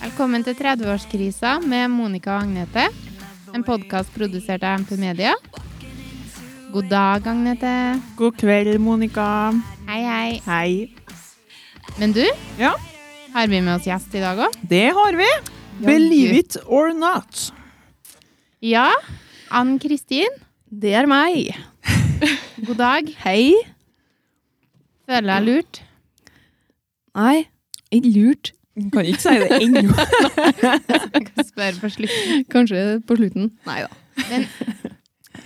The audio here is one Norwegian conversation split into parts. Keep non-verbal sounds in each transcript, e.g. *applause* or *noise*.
Velkommen til 30-årskrisa med Monica og Agnete. En podkast produsert av MP Media. God dag, Agnete. God kveld, Monica. Hei, hei. Hei. Men du, Ja, har vi med oss gjest i dag òg? det har vi. Believe it or not. Ja. Ann Kristin, Det er meg. *laughs* god dag. Hei. Føler jeg lurt? Nei, ikke lurt. Jeg Kan ikke si det *laughs* ennå. Jeg kan spørre på slutten. Kanskje på slutten. Nei da.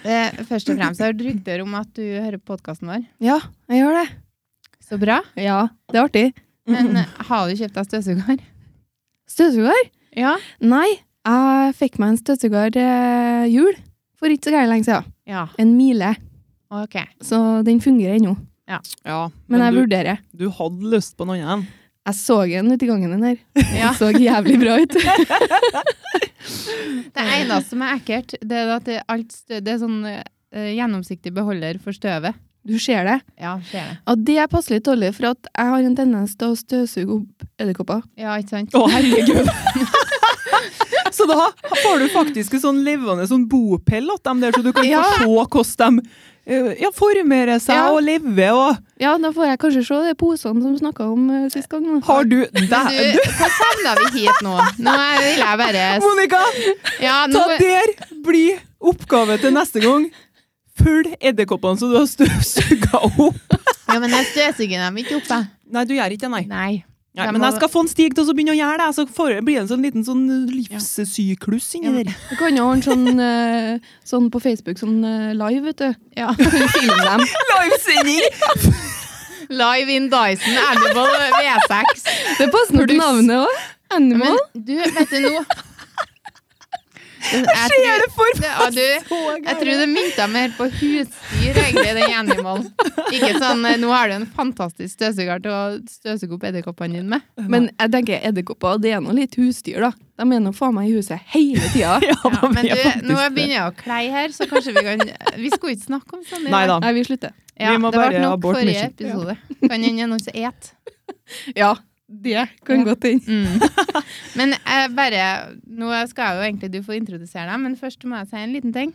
Eh, først og fremst har du rykter om at du hører podkasten vår. Ja, jeg gjør det. Så bra. Ja, det er artig. Men eh, har du kjøpt deg støvsuger? Støvsuger? Ja. Nei, jeg fikk meg en støvsuger til jul for ikke så gærent lenge siden. Ja, En mile. ok. Så den fungerer ennå. Ja, Men, jeg du, vurderer. du hadde lyst på noe annet. Jeg så den ute i gangen den *laughs* her. Ja. Den så jævlig bra ut. *laughs* Det eneste som er ekkelt, det er at det er, alt stø det er sånn eh, gjennomsiktig beholder for støvet. Du ser det. Ja, ser det. Og det passer litt dårlig, for at jeg har en tendens til å støvsuge opp edderkopper. Ja, ikke sant? Å, *laughs* herregud. Så da får du faktisk en sånn levende sånn bopel at dem der, så du kan Ja. få se hvordan de eh, ja, formerer seg Ja. og lever. Og Ja, da får jeg kanskje se de posene som vi snakka om eh, sist gang. nå. har *laughs* du Men deg Altså, du, hva savner vi hit nå? Nå er- vil jeg bare Monica, ja, nå, ta der blir oppgave til neste gang. Følg edderkoppene så du har *laughs* støvsuga opp. ja, men jeg støvsuger dem ikke opp, jeg. Nei, du gjør ikke det, nei. Nei. Nei, Jeg men må- jeg skal få en stig til å begynne å gjøre det. Så får, blir det en sånn liten sånn livssyklus Ja. *laughs* inni der. *laughs* Du kan jo ordne sånn, *laughs* eh, sånn på Facebook, sånn eh, live, vet du. Ja. Film dem. Livesending! Live in Dyson Animal V6. Det passer nok til navnet òg. Animal. Men du, vet du nå Jeg Skjer det for det, ja, du, Jeg tror det mynta mer på husdyr, egentlig, den animal. Ikke sånn eh, Nå har du en fantastisk støvsuger til å støvsuge opp edderkoppene dine med. Men, jeg tenker edderkopper, det er nå litt husdyr, da. De er nå faen meg i huset hele tida. *laughs* Ja, *laughs* Ja, da men blir du, jeg faktisk nå det. begynner jeg å klei her, så kanskje vi kan *laughs* Vi skulle ikke snakke om sånn. i Nei dag. da. Nei, vi slutter. Ja, Vi må det bare ble nok abort forrige mission. episode. *laughs* Kan hende noen som et. Ja, det kan godt hende. Mm. Men eh, bare Nå skal jo egentlig du få introdusere deg, men først må jeg si en liten ting.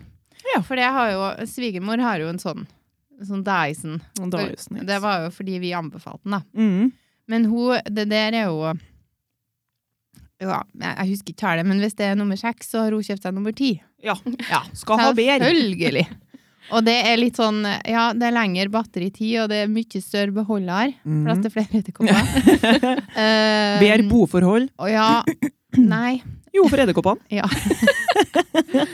Ja. For jeg har jo Svigermor har jo en sånn. Sånn Dyson. Og da er det snilt. Det var jo fordi vi anbefalte den, da. Mm. Men hun, det der er jo ja, Jeg jeg husker ikke tallet, men hvis det er nummer seks, så har hun kjøpt seg nummer ti. Ja. Skal ha bedre. Selvfølgelig. Og det er litt sånn Ja, det er lengre batteritid, og det er mye større beholder. Plass til flere edderkopper. Mhm. Eh, Mm. Bedre boforhold. Og ja Nei. Jo, for *laughs* edderkoppene. Ja.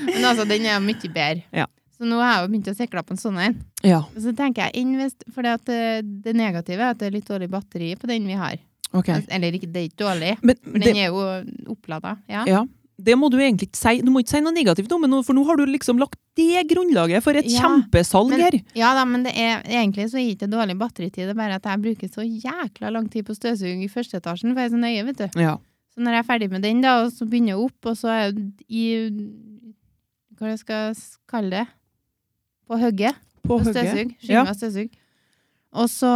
Men altså, den er mye bedre. Ja. Så nå har jeg jo begynt å sikle opp en sånn en. Ja. Og så tenker jeg invest, for det, at eh, det negative er at det er litt dårlig batteri på den vi har. Ok. Eller ikke, det er ikke dårlig. Men For det, den er jo opplada. Ja. ja. det må du egentlig ikke si. Du må ikke si noe negativt nå, men nå, for nå har du liksom lagt det grunnlaget for et Ja. kjempesalg Men, her. ja da, men det er, egentlig så er det ikke dårlig batteritid. Det er bare at jeg bruker så jækla lang tid på støvsuging i første etasjen, for jeg er så nøye, vet du. Ja. Så når jeg er ferdig med den, da, og så begynner jeg opp, og så er jeg i Hva jeg skal kalle det? På hugget. På På hugget. støvsug. Skynde Ja. meg å støvsuge. Og så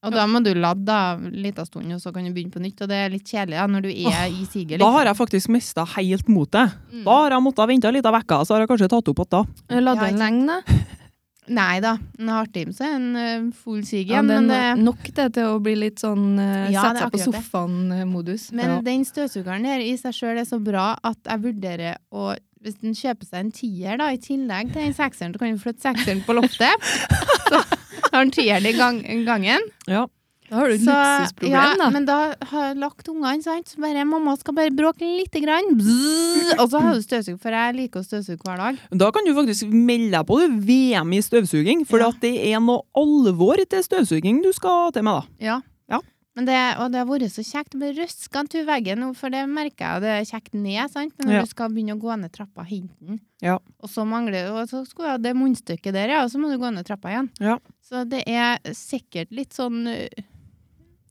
Og da må du lade da, en liten stund, og så kan du begynne på nytt. Og det er litt kjedelig da, når du er i siget. Da har jeg faktisk mista helt motet. Mm. Da har jeg måttet vente litt av vekka, så har jeg kanskje tatt opp at da. Ladde Ja, Eh, den ikke lenge, da. Nei da. En halvtime så er en eh, full sig Ja, igjen. den, men det... nok det til å bli litt sånn eh, Ja, det er sette seg på eh, akkurat det. sofaen-modus. Men den støvsugeren der i seg sjøl er så bra at jeg vurderer å Hvis den kjøper seg en tier da, i tillegg til den sekseren, så kan du flytte sekseren på loftet. Så har den tieren i gang, gangen. Ja. Da har du et Så- luksusproblem, ja, da. Men da har jeg lagt ungene, sant. Så bare mamma skal bare bråke lite grann. Bzzz, og så har du støvsug, for jeg liker å støvsuge hver dag. Da kan du faktisk melde deg på det VM i støvsuging, for Ja. at det er noe alvor til støvsuging du skal til med, da. Ja. Ja. Men det, og det har vært så kjekt. Det blir røska en tur veggen, nå, for det merker jeg. Det er kjekt ned, sant? men når Ja. du skal begynne å gå ned trappa, hente den. Ja. Og så mangler og så skulle jeg ha det munnstykket der, ja, og så må du gå ned trappa igjen. Ja. Så det er sikkert litt sånn ø,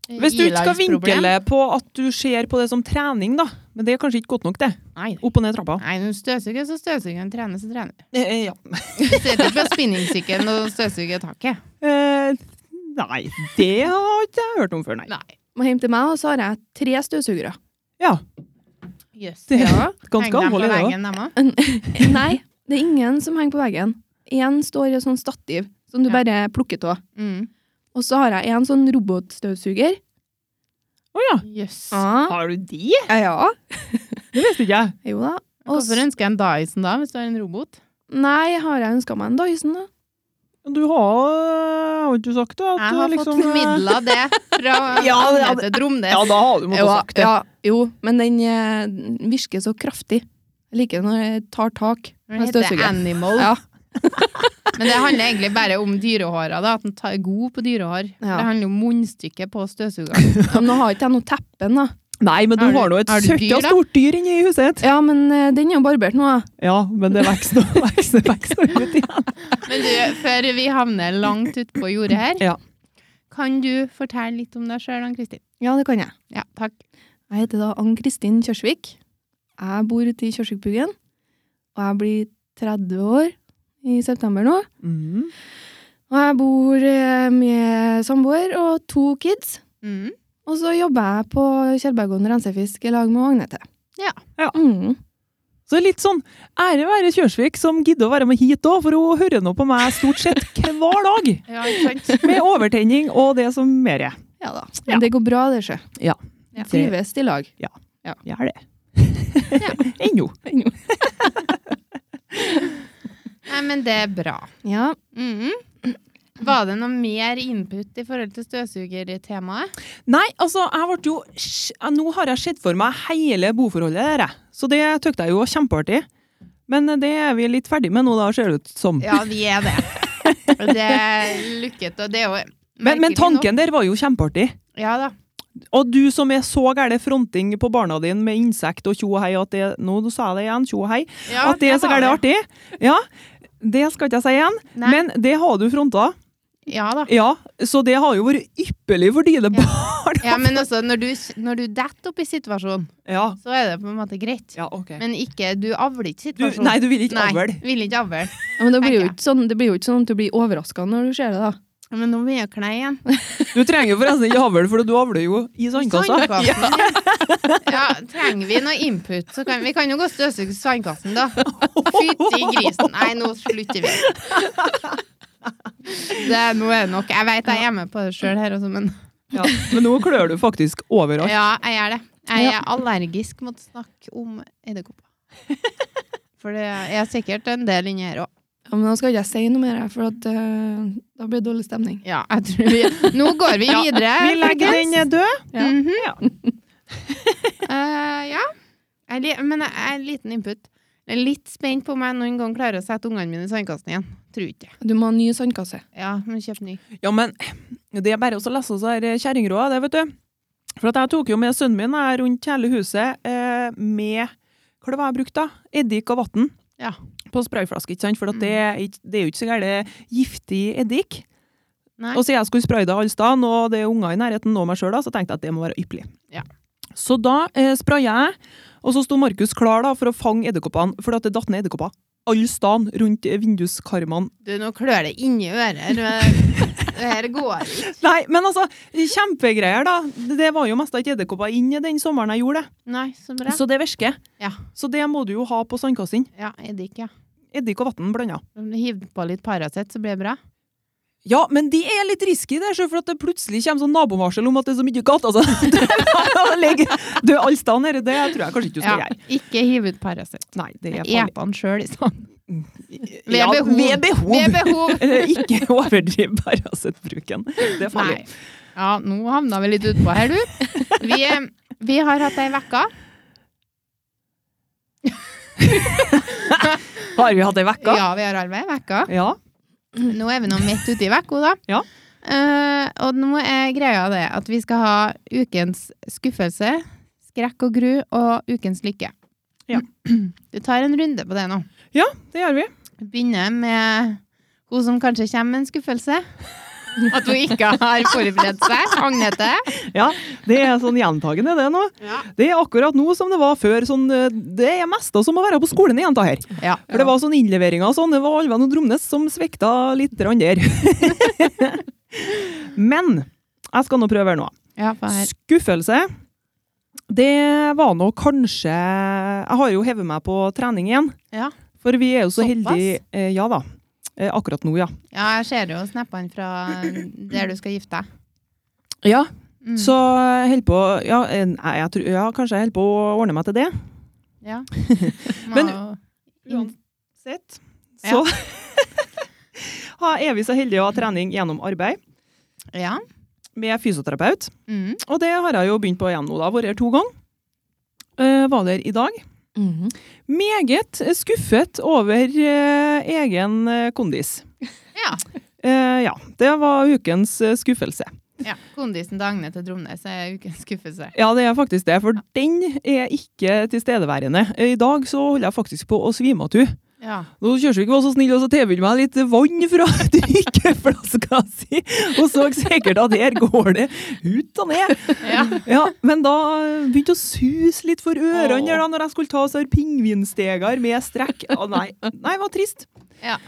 Hvis du ikke skal ilandsproblem. vinkle på at du ser på det som trening, da. Men det er kanskje ikke godt nok, det. Nei, Opp og ned trappa. Nei når du støvsuger, så støvsuger du. Trener, så trener du. Eh, ja. Du sitter på spinningsykkelen og støvsuger taket. Eh, nei, det har ikke jeg hørt om før, nei. Nei. må hjem til meg, og så har jeg tre *laughs* støvsugere. Ja, Jøss. det er Ja. ganske alvorlig, det da. da. Veggen, dem også? Nei, det er ingen som henger på veggen. Én står i et sånt stativ som du Ja. bare plukker av. mm. Og så har jeg en sånn robotstøvsuger. Å ja. Jøss. Ja. Har du de? ja. Det visste ikke jeg. Ah. Jo da. Og Hvorfor ønsker jeg en Dyson da, hvis du har en robot? Nei, har jeg ønska meg en Dyson, da? Du har har ikke sagt det? At Jeg du har liksom, fått formidla det *laughs* fra Ja, det- Anette Dromnes. Ja, da har du måttet Jo, sagt det. ja, jo, men den eh, virker så kraftig. Jeg liker når jeg tar tak Den med heter støvsugeren. Animal. Ja. Men det handler egentlig bare om dyrehåra, da, at den tar- er god på dyrehår. Ja. Det handler om munnstykket på støvsugeren. *laughs* Men nå har ikke jeg noe teppen, da. Nei, men du Har har, du- nå et har du dyr, søkka da? stort dyr inni huset. Ja, men eh, den er jo barbert nå, da. Ja, men det vokser og vokser og vokser ut igjen. Men du, før vi havner langt utpå jordet her, Ja. kan du fortelle litt om deg sjøl, Ann-Kristin? Ja, det kan jeg. Ja, takk. Jeg heter da Ann-Kristin Kjørsvik. Jeg bor ute i Kjørsvikbuggen, og jeg blir 30 år i september nå. Mm. Og jeg bor eh, med samboer og to kids. Mm. Og så jobber jeg på Kjellbergården rensefisk i lag med Agnete. Ja. Ja. Mm. Så litt sånn ære være Kjørsvik som gidder å være med hit òg, for hun hører nå på meg stort sett hver dag. Ja, ikke sant? Med overtenning og det som mer er. ja da. Ja. Men det går bra, det, sjø. Ja. Ja. Trives i *laughs* lag. Jeg er det. *laughs* Ennå. Nei, men det er bra. Ja. Mhm. Var det noe mer input i forhold til støvsugertemaet? Nei, altså, jeg ble jo sj- Nå har jeg sett for meg hele boforholdet der, jeg. så det tykte jeg jo var kjempeartig. Men det er vi litt ferdig med nå, da, ser det ut som. Ja, vi er det. *laughs* Det er lukket, og det er jo Men, men merkelig nok- tanken der var jo kjempeartig. Ja da. Og du som er så gæle fronting på barna dine med insekt og tjo og hei, at det, nå sa jeg det igjen, tjo og hei, Ja, at det er så var gæle artig, ja, det skal ikke jeg si igjen, Nei. men det har du fronta. Ja da. Ja, så det har jo vært ypperlig for dine barn. Ja, men altså, når du, når du detter opp i situasjonen, Ja, så er det på en måte greit. ja, ok. Men ikke, du avler ikke Du, situasjonen. nei, du vil ikke Nei, avle. vil ikke avle. Ja, Men det blir jo Tenker jeg. ikke sånn, det blir jo ikke sånn at du blir overraska når du ser det, da. Ja, Men nå blir jeg klei igjen. Du trenger jo forresten ikke avle, for du avler jo i sandkassa. Sandkassen, Ja. *laughs* ja, trenger vi noe input, så kan vi kan jo gå og støvsuge sandkassen, da. Fytti grisen. Nei, nå slutter vi. Det er, nå er det nok. Jeg vet jeg er med på det sjøl her også, men Ja, men nå klør du faktisk overalt. ja, jeg gjør det. Jeg er allergisk mot snakk om edderkopper. *laughs* For det er sikkert en del inni her òg. Ja, men da skal ikke jeg si noe mer, for at, eh, da blir det dårlig stemning. Ja, jeg tror vi Nå går vi Ja, videre. Vi legger folkens. den død. Ja. Mhm. Ja. *laughs* Eh, ja. Jeg, li- men jeg er en liten input. Jeg er litt spent på om jeg noen gang klarer å sette ungene mine i sandkassen igjen. Tror ikke det. Du må ha ny sandkasse. Ja, men kjøp ny. Ja, men det er bare å lese oss her eh, kjerringråd, det, vet du. For at jeg tok jo med sønnen min her rundt hele huset eh, med Hva det var jeg brukte, da? Eddik og vann. Ja. Mm. På sprayflaske, ikke sant? For at det, er ikke- det er jo ikke så gærent giftig eddik. Nei. Og så jeg skulle spraye det alle steder, og det er unger i nærheten nå meg sjøl, så tenkte jeg at det må være ypperlig. Ja. Så da eh, spraya jeg, og så sto Markus klar da, for å fange edderkoppene, for at det datt ned edderkopper alle steder rundt eh, vinduskarmene Du, nå klør det inni øret. Det det her går ikke. Nei, men altså, kjempegreier da. Det var jo mest ikke edderkopper inn i den sommeren jeg gjorde det. Nei, så bra. Så det virker. Ja. Så det må du jo ha på sandkassen. Ja, eddik, ja. Eddik og vann blanda. Hiv på litt Paracet, så blir det bra. Ja, men de er litt risky der, sjø, for at det plutselig kommer sånn nabovarsel om at det er så mye katt. Altså, *laughs* det ligger Du, alle steder nede, det tror jeg kanskje ikke du skal Ja, gjøre. ikke hiv ut Paracet. Nei, det er farlig. Ep den sjøl i stedet. Ved Ja, behov. Ved behov. Ved behov. *laughs* Eh, Ikke overdriv Paracet-bruken. Det er farlig. Nei. Ja, nå havna vi litt utpå her, du. Vi, vi har hatt ei uke. Har vi hatt ei uke? Ja, vi har arbeid ei uke. Ja. Nå er vi nå midt ute i vekko, da. Ja. Eh, og nå er greia det at vi skal ha ukens skuffelse, skrekk og gru og ukens lykke. Ja. Du tar en runde på det nå. Det gjør vi. Vi begynner med hun som kanskje kommer med en skuffelse. At hun ikke har forberedt seg. Agnete. Ja, Det er sånn gjentagende, det nå. Ja. Det er akkurat nå som det var før. Sånn, eh, det er mest da som å være på skolen igjen. da her. Ja. For det var sånn innleveringer og sånn. Det var Alven og Dromnes som *laughs* svikta litt grann der. Men jeg skal nå prøve her nå. Ja, for her. Skuffelse. Det var nå kanskje Jeg har jo hevet meg på trening igjen. Ja. For vi er jo så Såpass? heldige eh, Ja da. Eh, akkurat nå, ja. ja, jeg ser jo snappene fra der du skal gifte deg. Ja, Mm. Så jeg holder på ja, eh, nei, jeg tror, ja, kanskje jeg holder på å ordne meg til det. ja. *laughs* Men- Må- Uansett, så ha- er vi så *laughs* heldige å ha trening gjennom arbeid Ja. med fysioterapeut. Mm. Og det har jeg jo begynt på igjen nå, da. Vært her to ganger. Eh, var der i dag. Mhm. Meget skuffet over eh, egen eh, kondis. ja. Eh, ja, det var ukens eh, skuffelse. ja. Kondisen til Agne til Dromnes er ukens skuffelse. Ja, det er faktisk det, for den er ikke tilstedeværende. Eh, I dag så holder jeg faktisk på å svime av, du. Ja. Nå Kjørsvik var så snill og så tilbød meg litt vann fra *laughs* drikkeflaska si, og så sikkert at her går det ut og ned. ja. Ja, men da eh, begynte å suse litt for ørene der da, når jeg skulle ta sånne pingvinsteger med strekk. Å nei, nei, det var trist. Ja.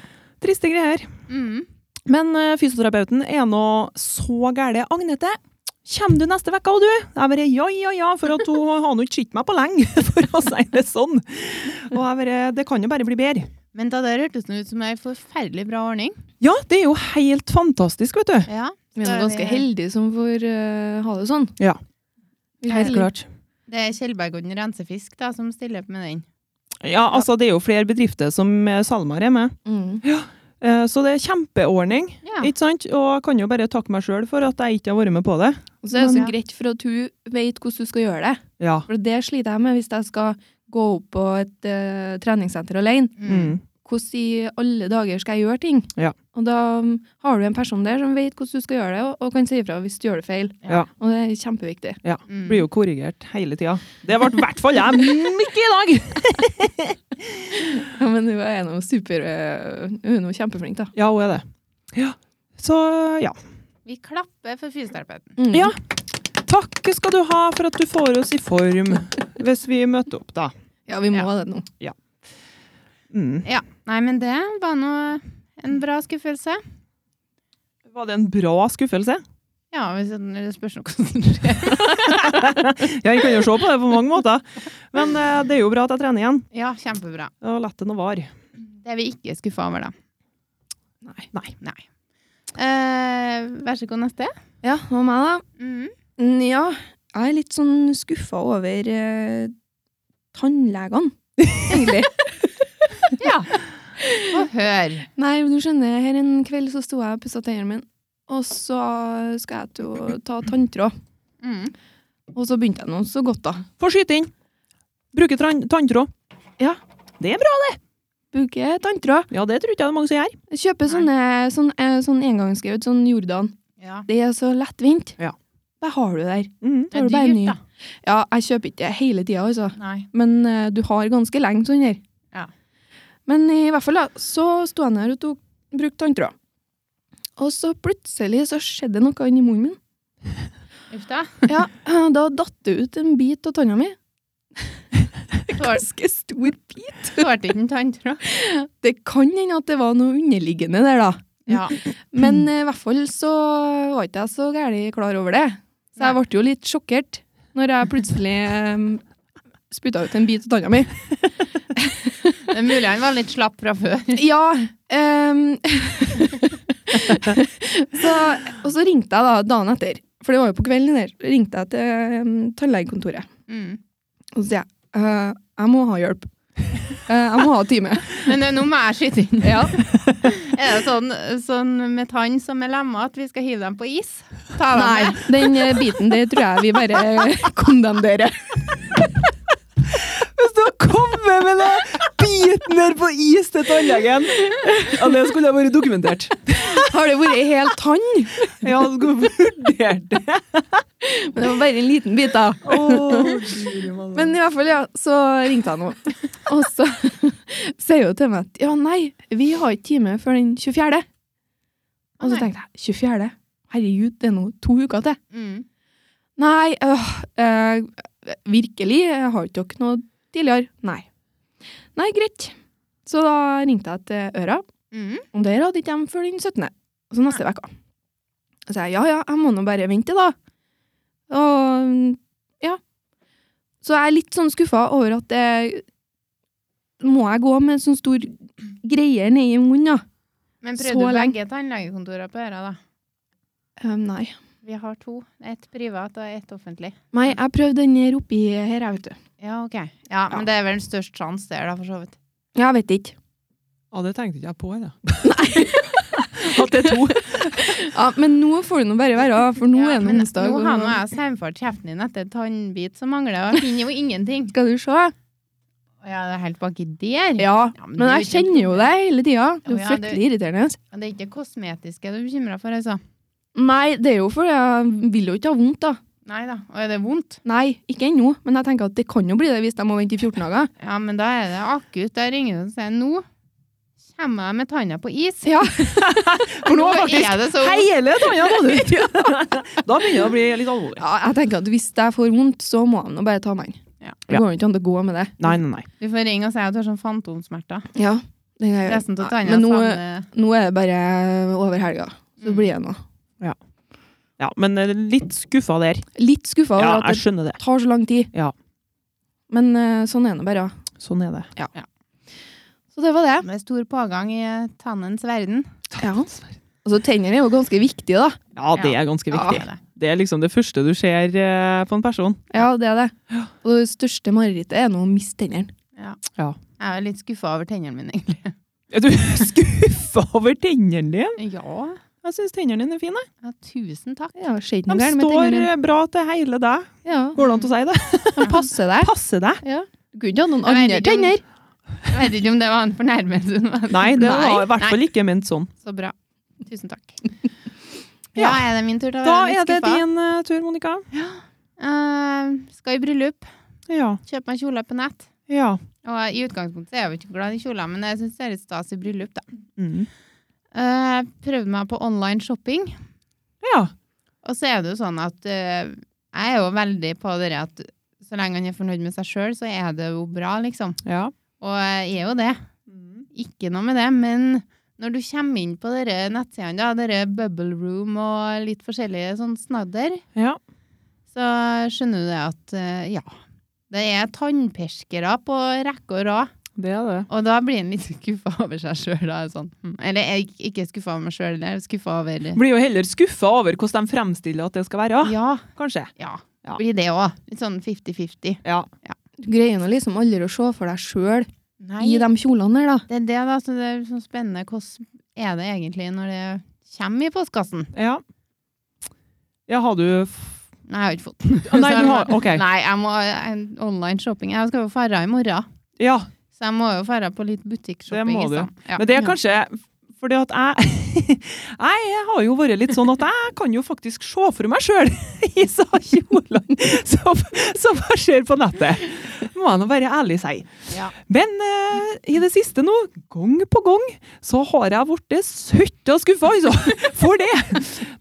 Triste greier. Mm. Men eh, fysioterapeuten er nå så gære. Agnete, kommer du neste uke, og du? Jeg bare ja, ja, ja, for at hun har nå ikke sett meg på lenge, *laughs* for å si det sånn. Og jeg bare, det kan jo bare bli bedre. Men da der hørtes det ut som ei forferdelig bra ordning. Ja, det er jo helt fantastisk, vet du. Ja. Vi er Da nå er ganske vi- heldige som får eh, ha det sånn. Ja. Vi er Helt heldige. klart. Det er Kjellberg og den rensefisk da, som stiller opp med den. Ja, altså det er jo flere bedrifter som eh, SalMar er med. Mhm. Eh, Så det er kjempeordning. Ja. Ikke sant? Og jeg kan jo bare takke meg sjøl for at jeg ikke har vært med på det. Og så er det Men- så greit for at hun vet hvordan du skal gjøre det. Ja. For det sliter jeg med hvis jeg skal gå opp på et eh, treningssenter alene. Mm. Mm. Hvordan i alle dager skal jeg gjøre ting? Ja. Og da mm, har du en person der som vet hvordan du skal gjøre det, og, og kan si ifra hvis du gjør det feil. Ja. Og det er kjempeviktig. ja. Mm. Blir jo korrigert hele tida. Det ble i hvert fall jeg mye i dag! *laughs* Ja, men hun er noe super eh, Hun er noe kjempeflink, da. Ja, hun er det. Ja. Så ja. Vi klapper for fysioterapeuten. Mm. Ja. Takk skal du ha for at du får oss i form hvis vi møter opp, da. Ja, vi må Ja. ha det nå. Mm. Ja. Nei, men det var nå en bra skuffelse. Var det en bra skuffelse? Ja, hvis det spørs nå hvordan det skjer. Ja, jeg kan jo se på det på mange måter. Men eh, det er jo bra at jeg trener igjen. *laughs* Ja, kjempebra. Og lett det nå var. Det er vi ikke skuffa over, da. Nei. Nei. Nei. Eh, vær så god, neste. Ja, og meg, da? Mm. Mm, Ja, jeg er litt sånn skuffa over eh, tannlegene, *laughs* egentlig. Ja. Få høre. Nei, men du skjønner, her en kveld så sto jeg og pussa tennene mine, og så skal jeg til å ta tanntråd. Mm. Og så begynte jeg nå så godt, da. Få skyte inn. Bruke tran- tanntråd. Bruker tanntråd. Ja, det tror ikke jeg det er mange som gjør. Jeg Kjøper sånne, sånn, eh, sånn engangsgaud, sånn Jordan. Ja. Det er så lettvint. Ja. Det har du der. Mm. Det er Tar du bare en dyrt, ny? da. Ja, jeg kjøper ikke det hele tida, altså. Nei. Men eh, du har ganske lenge sånn her. Ja. Men i hvert fall da, så sto jeg der og tok, brukte tanntråd. Og så plutselig så skjedde det noe inni munnen min. Uff da. Ja, da datt det ut en bit av tanna mi. *laughs* Tål- Ganske stor bit. Tålte ikke en tanntråd. Det kan hende at det var noe underliggende der, da. Ja. Men eh, i hvert fall så var ikke jeg så gærlig klar over det. Så jeg Nei. ble jo litt sjokkert når jeg plutselig um, spytta ut en bit av *laughs* tanna mi. *laughs* Det er mulig han var litt slapp fra før. Ja. ehm, *laughs* så, og så ringte jeg da dagen etter, for det var jo på kvelden der, ringte jeg til ehm, tannlegekontoret. Mm. Og så sier jeg «Eh, jeg må ha hjelp. Eh, jeg må ha *laughs* time. Men eh, nå må jeg skyte inn. Ja. *laughs* Er det sånn, sånn med tann som er lemma, at vi skal hive dem på is? Ta dem Nei, med. den eh, biten der tror jeg vi *laughs* bare kondemnerer. Hvis du har kommet med den biten der på is til tannlegen Ja, det skulle ha vært dokumentert. Har det vært helt tann? Ja, du skulle vurdert det. Men det var bare en liten bit, da. Men i hvert fall, ja, så ringte jeg nå. *laughs* Og så sier hun til meg at ja, nei, vi har ikke time før den 24. Og så Nei. tenkte jeg 24. Herregud, det er nå to uker til. Mm. Nei, øh, øh, virkelig, jeg har ikke dere noe tidligere? Nei. Nei, greit. Så da ringte jeg til Øra, Mm. og der hadde ikke de før den 17. Så neste uke. Så jeg ja, ja, jeg må nå bare vente, da. Og ja. Så jeg er litt sånn skuffa over at det Må jeg gå med en sånn stor greie nedi munnen, da? Men Så prøvde du lenge. begge tannlegekontorene på øra, da? Ehm, nei. Vi har to. Ett privat og ett offentlig. Nei, jeg prøvde den her oppi her, jeg, vet du. Ja, ok. Ja, men det er vel den største sjanse der, da, for så vidt. Jeg vet ikke. Ja, det tenkte ikke jeg på, jeg. da. At det er to. Ja, men nå får det nå bare være, for nå Ja, er det men onsdag. Nå har og- nå jeg saumfart kjeften din etter en tannbit som mangler, og jeg finner jo ingenting. Skal du se? Å Ja, det er helt baki der. Ja, Ja, men du men jeg er ikke- kjenner jo deg hele tida. Å, Det er jo ja, det- fryktelig irriterende. Og Det er ikke det kosmetiske du er bekymra for, altså? Nei, det er jo fordi jeg vil jo ikke ha vondt, da. Nei da. Og er det vondt? Nei, ikke ennå, men jeg tenker at det kan jo bli det hvis jeg må vente i 14 dager. Ja, men da er det akutt. Da ringer du og sier nå kommer jeg med tanna på is. *laughs* Ja. For nå er faktisk er det så hele tanna må du *laughs* ut. Da begynner det å bli litt alvorlig. *laughs* Ja, jeg tenker at hvis jeg får vondt, så må jeg nå bare ta meg en. Ja. Det går jo ikke an å gå med det. Nei, nei, nei. Du får ringe og si at du har sånn fantomsmerter. Ja, det Eh, kan jeg gjøre. Resten av ah, Nei, tanna men nå, savner nå er det bare over helga. Så Mm. blir det noe. Ja, men eh, litt skuffa der. Litt skuffa over Ja, at jeg skjønner det. det tar så lang tid. Ja. Men eh, sånn er det bare. ja. Sånn er det. Så det var det. med stor pågang i eh, tannens verden. Ja. Altså, Tennene er jo ganske viktige, da. Ja, det er ganske Ja. viktig. det. Det er liksom det første du ser eh, på en person. Ja, det er det. Og det største marerittet er nå å miste tennene. Jeg er litt skuffa over tennene mine, *laughs* egentlig. Er du skuffa over tennene dine? Ja. Jeg syns tennene dine er fine. ja tusen takk. Ja, skjer ikke noe De gærent med står tennene. eh, bra til hele deg. Ja, Går det an å si det? de passer deg. Passer deg. Ja. Du kunne ikke ha noen Jeg vet andre ikke om- tenner. Jeg vet ikke om det var en fornærmelse. men- Nei, det var i hvert Nei. fall ikke ment sånn. Så bra. Tusen takk. *laughs* Ja. Ja, er det min tur til å Da være er litt det skuffa? din eh, tur, Monica. Eh, skal i bryllup. Ja. Kjøpe meg kjole på nett. Ja. Og i utgangspunktet er jeg jo ikke glad i kjoler, men jeg syns det er litt stas i bryllup, da. Mm. Eh, prøvde meg på online shopping. Ja. Og så er det jo sånn at eh, jeg er jo veldig på det at så lenge han er fornøyd med seg sjøl, så er det jo bra, liksom. ja. Og jeg er jo det. Ikke noe med det, men når du kommer inn på dere nettsidene, da, dere Bubble Room og litt forskjellige sånn snadder, Ja. så skjønner du det at eh, ja, det er tannperskere på rekke og rad. Det er det. Og da blir en litt *laughs* skuffa over seg sjøl. Sånn. hm. Eller jeg er ikke skuffa over meg sjøl, jeg er skuffa over Blir jo heller skuffa over hvordan de fremstiller at det skal være. Ja. Kanskje. ja. Ja. Blir det òg. Litt sånn 50-50. Ja. Du greier nå liksom aldri å se for deg sjøl i I de kjolene der, da. Det er det, da. Så det er sånn spennende. Hvordan er det egentlig når det kommer i postkassen? Ja. Ja, har du f- Nei, jeg har ikke fått den. Nei, *laughs* du har OK. Nei, jeg må jeg- online shopping. Jeg skal jo fare i morgen. Ja. Så jeg må jo fare på litt butikkshopping. Det må i du. stedet. Ja. Men det er kanskje fordi at jeg *laughs* Nei, jeg har jo vært litt sånn at jeg kan jo faktisk se for meg sjøl *laughs* i så kjolene som, som jeg ser på nettet. Må jeg nå være ærlig si. Ja. Men eh, i det siste nå, gang på gang, så har jeg blitt søtt og skuffa, altså. *laughs* For det!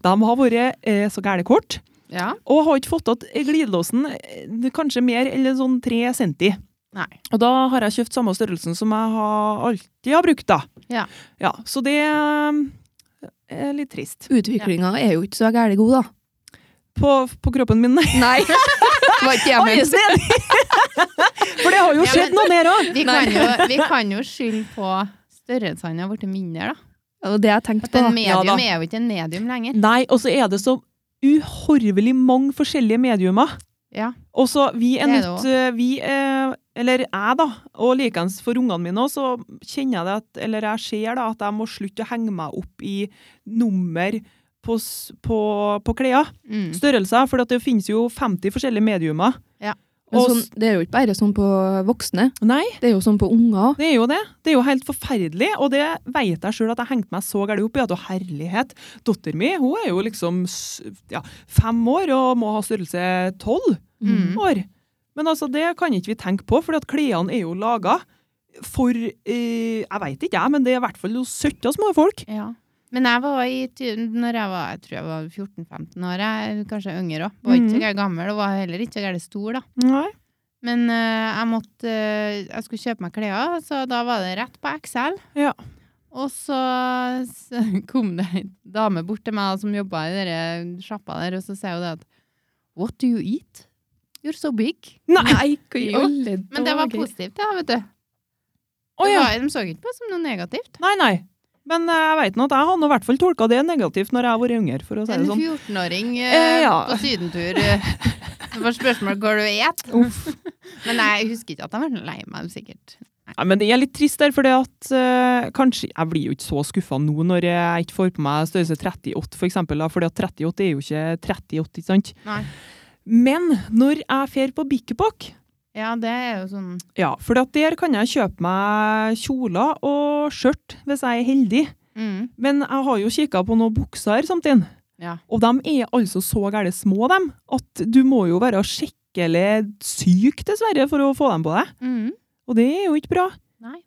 De har vært eh, så gæle kort, Ja. og har ikke fått igjen glidelåsen eh, kanskje mer eller sånn tre centi. Nei. Og da har jeg kjøpt samme størrelsen som jeg har alltid har brukt, da. Ja. Ja, så det eh, er litt trist. Utviklinga er jo ikke så gæren god, da. På, på kroppen min, nei. *laughs* Nei. Var ikke jeg Oi, ment. snill! *laughs* For det har jo Ja, skjedd men- noe mer òg. Vi kan jo, vi kan jo skylde på størrelsen har blitt mindre, da. Det var det jeg tenkte At på. en da. medium Ja, da. er jo ikke en medium lenger. Nei, og så er det så uhorvelig mange forskjellige mediumer. Ja. Og så vi er Det er nødt Vi, eh, eller jeg, da, og likeens for ungene mine òg, så kjenner jeg det at Eller jeg ser da at jeg må slutte å henge meg opp i nummer på, s- på, på klær. Mm. Størrelser, for at det finnes jo 50 forskjellige mediumer. Ja. Men Og sånn, s- det er jo ikke bare sånn på voksne, nei, det er jo sånn på unger òg. det er jo det. Det er jo helt forferdelig, og det vet jeg sjøl at jeg hengte meg så gærent opp i. At å herlighet, datteren min hun er jo liksom s- ja, fem år og må ha størrelse tolv Mm. år. Men altså, det kan ikke vi tenke på, for klærne er jo laga for eh, Jeg veit ikke, jeg, men det er i hvert fall jo søtte små folk. Ja. Men jeg var i ty- når jeg var, jeg tror jeg var 14-15 år, jeg, kanskje yngre òg. Var ikke så Mhm. gærent gammel og var heller ikke så gærent stor, da. Nei. Men eh, jeg måtte eh, Jeg skulle kjøpe meg klær, så da var det rett på XL. Ja. Og så *laughs* s- kom det ei dame bort til meg som jobba i den sjappa der, og så sier hun det at What do you eat? You're so big. Nei! hva i Jo. alle Men det var dager? positivt, ja, vet du. *laughs* Å Det ja. var, de så ikke på det som noe negativt. Nei, nei. Men eh, jeg vet nå at jeg har nå i hvert fall tolka det negativt når jeg har vært yngre, for å si En det sånn. 14-åring eh, Eh, ja. på sydentur. eh, *laughs* Det var spørsmål hva du et. *laughs* Men jeg husker ikke at jeg var lei meg, sikkert. Nei, men det er litt trist der, for kanskje Jeg blir jo ikke så skuffa nå når jeg ikke får på meg størrelse 38, for eksempel, da, fordi at 38 er jo ikke 38, ikke sant? Nei. Men når jeg fer på Bikkjepokk Ja, det er jo sånn ja, for at der kan jeg kjøpe meg kjoler og skjørt hvis jeg er heldig. mm, Men jeg har jo kikka på noen bukser samtidig, Ja. og de er altså så gære små, dem, at du må jo være skikkelig syk, dessverre, for å få dem på deg. mm. Og det er jo ikke bra. Nei.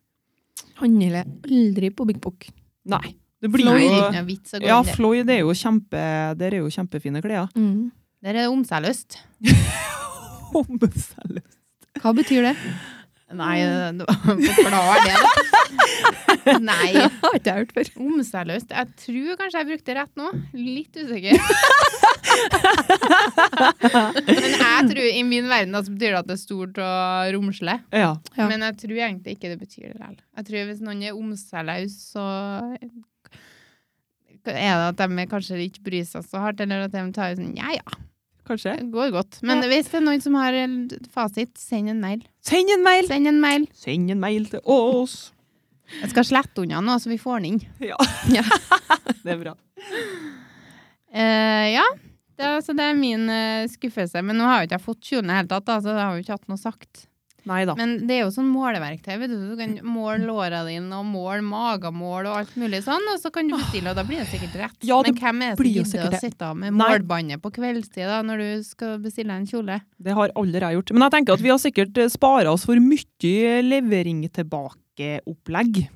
Handler aldri på Big Book. Nei. Det Nei, blir det er jo ikke noe vits å gå Ja, inn der. Floyd er jo, kjempe, der er jo kjempefine klær. Der er det om seg løst. Hommeselløs. Hva betyr det? Nei, eh, *laughs* det var- forklar det. *laughs* da. Nei, har ikke jeg hørt før. om seg løst. Jeg tror kanskje jeg brukte rett nå. Litt usikker. *laughs* Men jeg tror i min verden da, så betyr det at det er stort og romslig. Ja. Ja. Men jeg tror egentlig ikke det betyr det likevel. Jeg tror hvis noen er omseløs, så er det at de kanskje ikke bryr seg så hardt, eller at de tar sånn ja ja, Kanskje. det går godt. Men hvis det er noen som har en fasit, send en mail. Send en mail! Send en mail. Send en mail til oss! Jeg skal slette unna nå, så vi får den inn. Ja. Ja. *laughs* det er bra. Eh, ja, det, er- så det er min eh, skuffelse. Men nå har jo ikke jeg fått kjolen i det hele tatt, da, så det har jo ikke hatt noe sagt. Nei da. Men det er jo sånn måleverktøy. vet Du Du kan måle låra dine og måle magemål og alt mulig sånn, og så kan du bestille, og da blir det sikkert rett. Ja, Men det hvem er blir jo det som gidder sikkert å det. sitte av med Nei. målbåndet på kveldstid da, når du skal bestille en kjole? Det har aldri jeg gjort. Men jeg tenker at vi har sikkert spara oss for mye levering tilbake-opplegg. *laughs*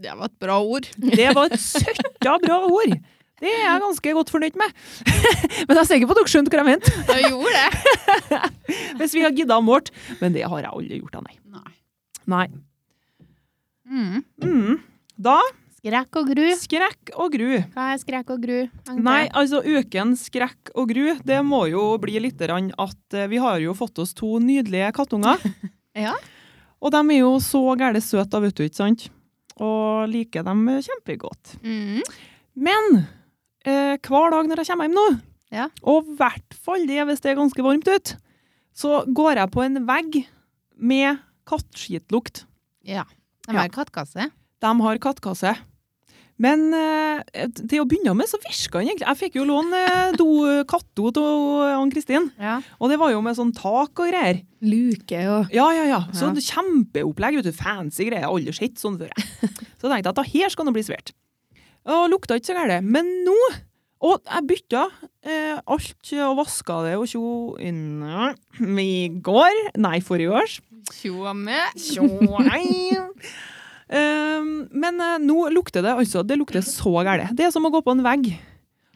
Det var et bra ord. Det var et søtta bra ord! Det er jeg ganske godt fornøyd med. *laughs* Men jeg er sikker på at dere skjønte hva jeg mente. Jeg gjorde det. Hvis vi har gidda å måle. Men det har jeg aldri gjort, da, nei. Nei. nei. Mm. Mm. Da Skrekk og gru. skrekk og gru. Hva er skrekk og gru? Agnete? Nei, altså ukens skrekk og gru, det må jo bli litt grann at eh, vi har jo fått oss to nydelige kattunger. *laughs* Ja. Og de er jo så gære søte, da, vet du, ikke sant? Og liker dem eh, kjempegodt. Mm. Men eh, hver dag når jeg kommer hjem nå, Ja. og i hvert fall det hvis det er ganske varmt ute, så går jeg på en vegg med kattskitlukt. Ja. De Ja. har kattkasse. De har kattkasse. Men eh, til å begynne med så virka den egentlig. Jeg fikk jo låne eh, do- kattdo av Ann-Kristin. Ja. Og det var jo med sånn tak og greier. Luke og Ja, ja, ja. Sånn Ja. kjempeopplegg, vet du. Fancy greier. Aldri sett sånn før. jeg. Så tenkte jeg at da her skal det bli svært. Og lukta ikke så gærent. Men nå Og jeg bytta eh, alt og vaska det og tjo inne i går. Nei, forrige års. Tjoa med. Tjo, hei. *laughs* Ehm, men eh, nå lukter det altså, det lukter så gærent. Det er som å gå på en vegg.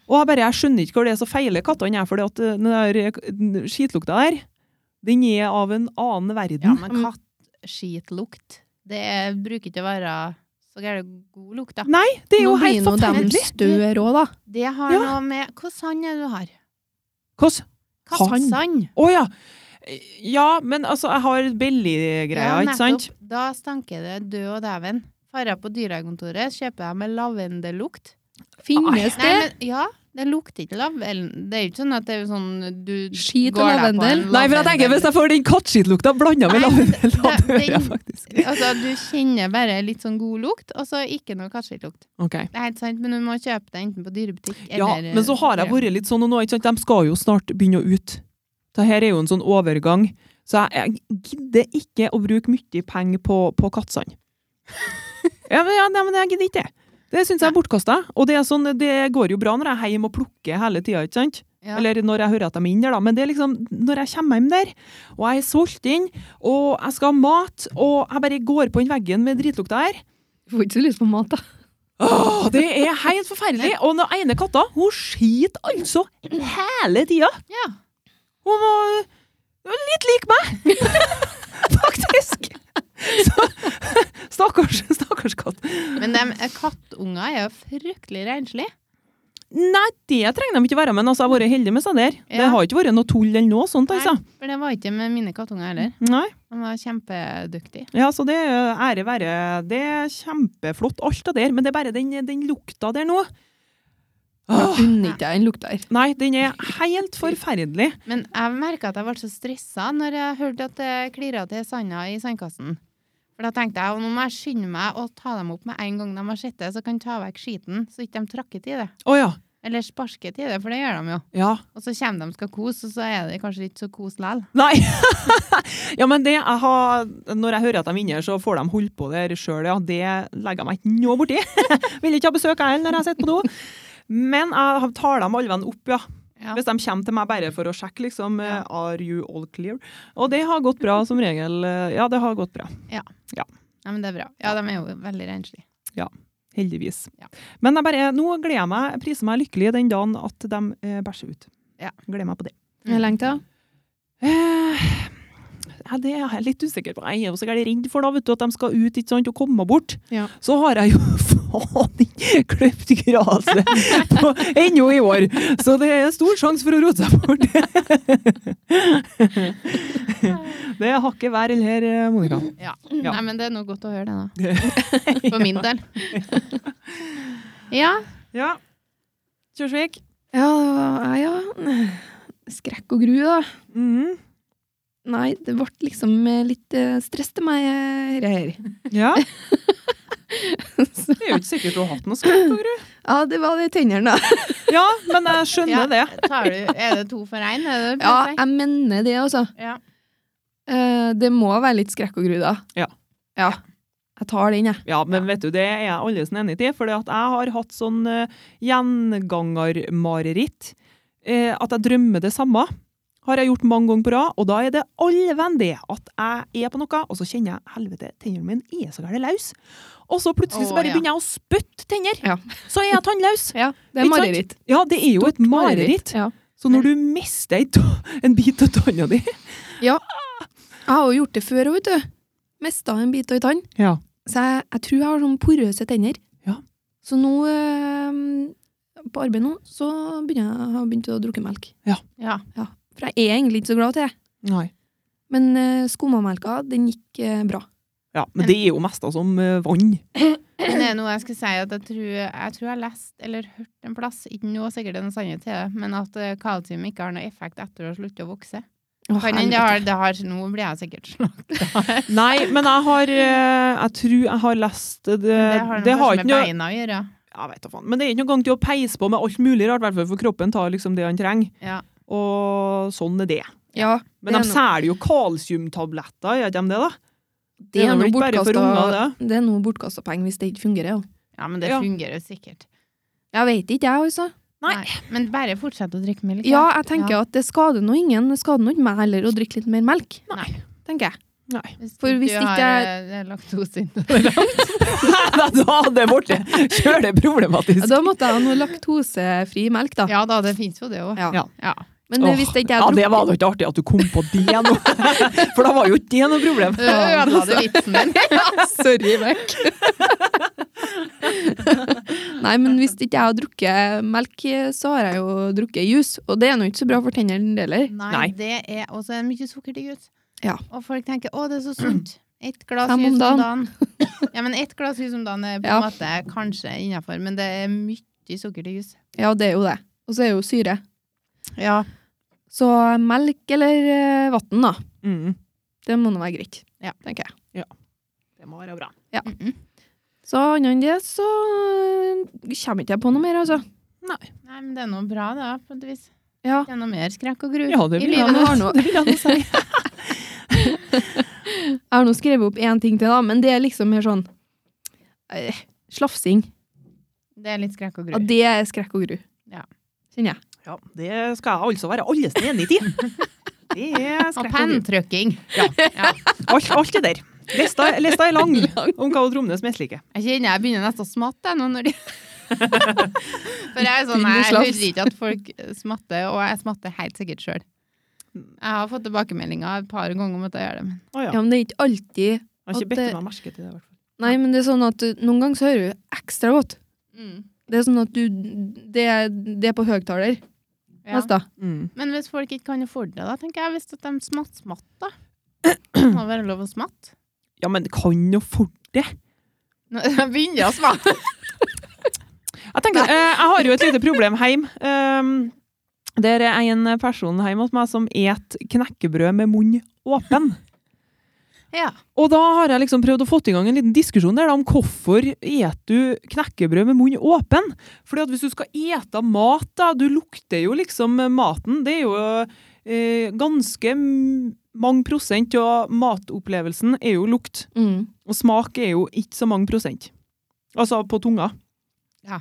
Og jeg bare, jeg skjønner ikke hvor det er så feiler kattene er, for den der eh, den skitlukta der, den er av en annen Ja, verden. men kattskitlukt, det er- bruker ikke å være så gæren god lukt, da. Mm, Nei, det er jo Nå blir helt nå dem forferdelig. større òg, da. Det har Ja. noe med Hvilken sand er det du har? Hvordan? Kattsand. Å ja. Ja, men altså, jeg har belly-greia, Ja, ikke sant? nettopp. Da stanker det død og dæven. Farer på dyrekontoret, kjøper jeg med lavendellukt. Finnes Nei, det? men ja, det lukter ikke lavendel. Det er jo ikke sånn at det er sånn du Skit og går deg på en lavendel? Nei, for jeg tenker, hvis jeg får den kattskittlukta blanda med Nei, *laughs* *laughs* lavendel, da det- dør jeg den- faktisk. *laughs* Altså, du kjenner bare litt sånn god lukt, og så ikke noe kattskitlukt. Ok. Det er helt sant, men du må kjøpe det enten på dyrebutikk Ja, eller eh, men så har jeg vært litt sånn, og nå, ikke sant, de skal jo snart begynne å ut. Det her er jo en sånn overgang, så jeg, jeg gidder ikke å bruke mye penger på, *laughs* på kattsand. Ja, men, ja, nei, men jeg gidder ikke det. Det syns jeg er bortkasta. Og det, er sånn, det går jo bra når jeg er hjemme og plukker hele tida, ikke sant? Ja. Eller når jeg hører at de er inne der, da. Men det er liksom når jeg kommer hjem der, og jeg er solgt inn, og jeg skal ha mat, og jeg bare går på den veggen med dritlukta her, Får ikke så lyst på mat, da. Åh, det er helt forferdelig. Og den ene katta, hun skiter altså hele tida. Ja. Hun var hun var litt lik meg, *laughs* faktisk. Så, stakkars, stakkars katt. eh, Men de kattunger er jo fryktelig renslige. Nei, det trenger de ikke være, men altså, jeg har vært heldig med seg der. Det Ja. har ikke vært noe tull eller noe sånt, altså. Nei, for det var ikke med mine kattunger heller. Nei. De var kjempedyktige. Ja, så det er ære være. Det er kjempeflott, alt det der, men det er bare den, den lukta der nå. Åh, Unner ikke jeg den lukta her. nei, den er helt forferdelig. Men jeg merka at jeg ble så stressa når jeg hørte at det klirra til sanda i sandkassen. For da tenkte jeg nå må jeg skynde meg å ta dem opp med en gang de har sett det, så kan jeg ta vekk skiten, så ikke de trakket i det. Å ja. Eller sparket i det, for det gjør de jo. Ja. Og så kommer de og skal kose, og så er det kanskje ikke så kos likevel. Nei. *laughs* ja, men det jeg har Når jeg hører at de vinner, så får de holde på der sjøl, ja. Det legger jeg meg ikke noe borti. *laughs* Vil ikke ha besøk, jeg heller, når jeg sitter på do. Men jeg tar dem alvene opp, ja. Ja. Hvis de kommer til meg bare for å sjekke, liksom. eh, Are you all clear? Og det har gått bra, som regel. eh, Ja, det har gått bra. Nei, men det er bra. Ja, de er jo veldig renslige. Heldigvis. Ja. Men jeg bare, nå gleder jeg meg, priser meg lykkelig den dagen at de eh, bæsjer ut. Ja. Gleder meg på det. Hvor lenge til? Eh, ja, det er jeg litt usikker på. Jeg er jo så gærent redd for da, vet du, at de skal ut ikke sant, og komme bort. Ja. Så har jeg jo *laughs* faen ikke kløpt gresset på- *laughs* ennå i år. Så det er stor sjanse for å rote seg bort. *laughs* det er hakket vær eller her, eh, Monica. Ja. Ja. Nei, men det er noe godt å høre det, da. *laughs* For min del. Ja. Ja. Kjørsvik. Ja, det var ja. Skrekk og gru, da. Mhm. Nei, det ble liksom eh, litt eh, stress til meg, eh, det her. *laughs* Ja. Det er jo ikke sikkert du har hatt noe skrekk og gru. Ja, det var det i tennene, da. Ja, men jeg Ja. skjønner det. Tar du, er det to for én? Er det Ja, *laughs* jeg mener det, altså. Ja. Eh, det må være litt skrekk og gru, da. Ja. Ja. Jeg tar den, jeg. Ja, men vet du, det er jeg allesen enig i, for jeg har hatt sånn eh, gjengangermareritt. eh, at jeg drømmer det samme. Har jeg gjort mange ganger på rad, og da er det allvenn det at jeg er på noe, og så kjenner jeg helvete, tennene mine er så gærent løs. Og så plutselig så Å, bare ja. begynner jeg å spytte tenner. Ja. Så er jeg tannløs. Ja, det er Ikke sant? mareritt. *laughs* Ja, det er jo et mareritt. Ja. Så når du mister ei ta- *laughs* en bit av tanna di Jeg har jo gjort det før, vet du. Mista en bit av en tann. Ja. Så jeg, jeg tror jeg har sånn porøse tenner. Ja. Så nå, eh, på arbeid nå, så begynner jeg, har jeg begynt å drukke melk. Ja. For jeg er egentlig ikke så glad til det. Nei. Men uh, skummamelka, den gikk eh, bra. Ja, men det er jo mest som eh, vann. Men det er noe jeg skal si at jeg tror jeg, tror jeg har lest eller hørt en plass, ikke nå sikkert det er noe sannhet til det, men at eh, kalsium ikke har noe effekt etter å slutte å vokse. Å, Kan hende det har, det har Nå blir jeg sikkert slakta. Nei, men jeg har eh, Jeg tror jeg har lest det Det har Eh, det noe har kanskje ikke med noe beina å gjøre. Jeg vet da faen. Men det er ikke noen gang til å peise på med alt mulig rart, i hvert fall for kroppen tar liksom det han trenger. Ja. Og sånn er det. Ja, Men Det de er noe. selger jo kalsiumtabletter, gjør de det, da? det er vel noe ikke bare for unger, bortkasta det? Det er noe bortkasta penger hvis det ikke fungerer. jo. ja, men det Ja. fungerer jo sikkert. Jeg vet ikke, jeg, altså. Nei. Men bare fortsett å drikke melk. Ja, jeg tenker at det skader nå ingen. Det skader nå ikke meg heller å drikke litt mer melk, Nei. tenker jeg. Nei. Hvis For hvis ikke du ikke har jeg- eh, laktoseintolerant. *laughs* Nei, da hadde det blitt kjøleproblematisk. Da måtte jeg ha noe laktosefri melk, da. Ja da, det fins jo det òg. Ja. Ja. Men eh, hvis det ikke ja, jeg det drukker var da ikke artig at du kom på det nå. *laughs* For da var jo ikke det noe problem. *laughs* Da *laughs* Ødela du vitsen din? *laughs* *laughs* Sorry, vekk. *laughs* Nei, men hvis ikke jeg har drukket melk, så har jeg jo drukket juice. Og det er nå ikke så bra for tennene heller. Nei, Nei. det er også mye sukkerdigg ut. Ja. Og folk tenker 'å, det er så sunt'. Ett glass Fem om jus om dagen. Ja, men ett glass jus om dagen er på en Ja. måte kanskje innafor, men det er mye sukker til jus. Ja, det er jo det. Og så er jo syre. Ja. Så melk eller eh, vann, da. Mm. Det må nå være greit, Ja. tenker jeg. Det må være bra. Mm -mm. Så annet enn det, så eh, kommer ikke jeg på noe mer, altså. Nei, men det er noe bra, da, på et vis. Ja. Det er noe mer skrekk og gru. Ja, det I vil livet. Men jeg har nå- Det vil jeg nå si. Jeg har nå skrevet opp én ting til, da, men det er liksom mer sånn eh, Slafsing. Det er litt skrekk og gru. Ja, det er skrekk og gru. Ja. Kjenner jeg. Ja, det skal jeg altså være allesen enig i. *laughs* Det er Og skrekk og gru. pentrykking. Alt, alt det der. Lista, lista er lang *laughs* om hva Tromnes misliker. Jeg kjenner jeg begynner nesten å smatte jeg, nå når de For jeg er sånn, Begynner å jeg slafse. hører ikke at folk smatter, og jeg smatter helt sikkert sjøl. Jeg har fått tilbakemeldinger et par ganger om at jeg gjør det, men Å ja. Ja, men det er ikke alltid Jeg har at ikke bedt det- meg merke til det. i hvert fall. Nei, men det er sånn at du, noen ganger så hører du ekstra godt. mm. Det er sånn at du Det, det er på høyttaler. Ja. Neste. Mm. Men hvis folk ikke kan affordere det, da, tenker jeg hvis at de smatt smatt, da. Det må være lov å smatte. Ja, men kan jo for det. Nå- *laughs* Jeg begynner å smatte. Jeg, tenker, eh, jeg har jo et lite problem hjemme. Um, der er en person hjemme hos meg som et knekkebrød med munn åpen. Ja. Og da har jeg liksom prøvd å få i gang en liten diskusjon der da, om hvorfor et du knekkebrød med munnen åpen. Fordi at hvis du skal ete mat, da, du lukter jo liksom maten. Det er jo eh, ganske m- mange prosent av matopplevelsen er jo lukt. Mm. Og smak er jo ikke så mange prosent. Altså på tunga. Ja.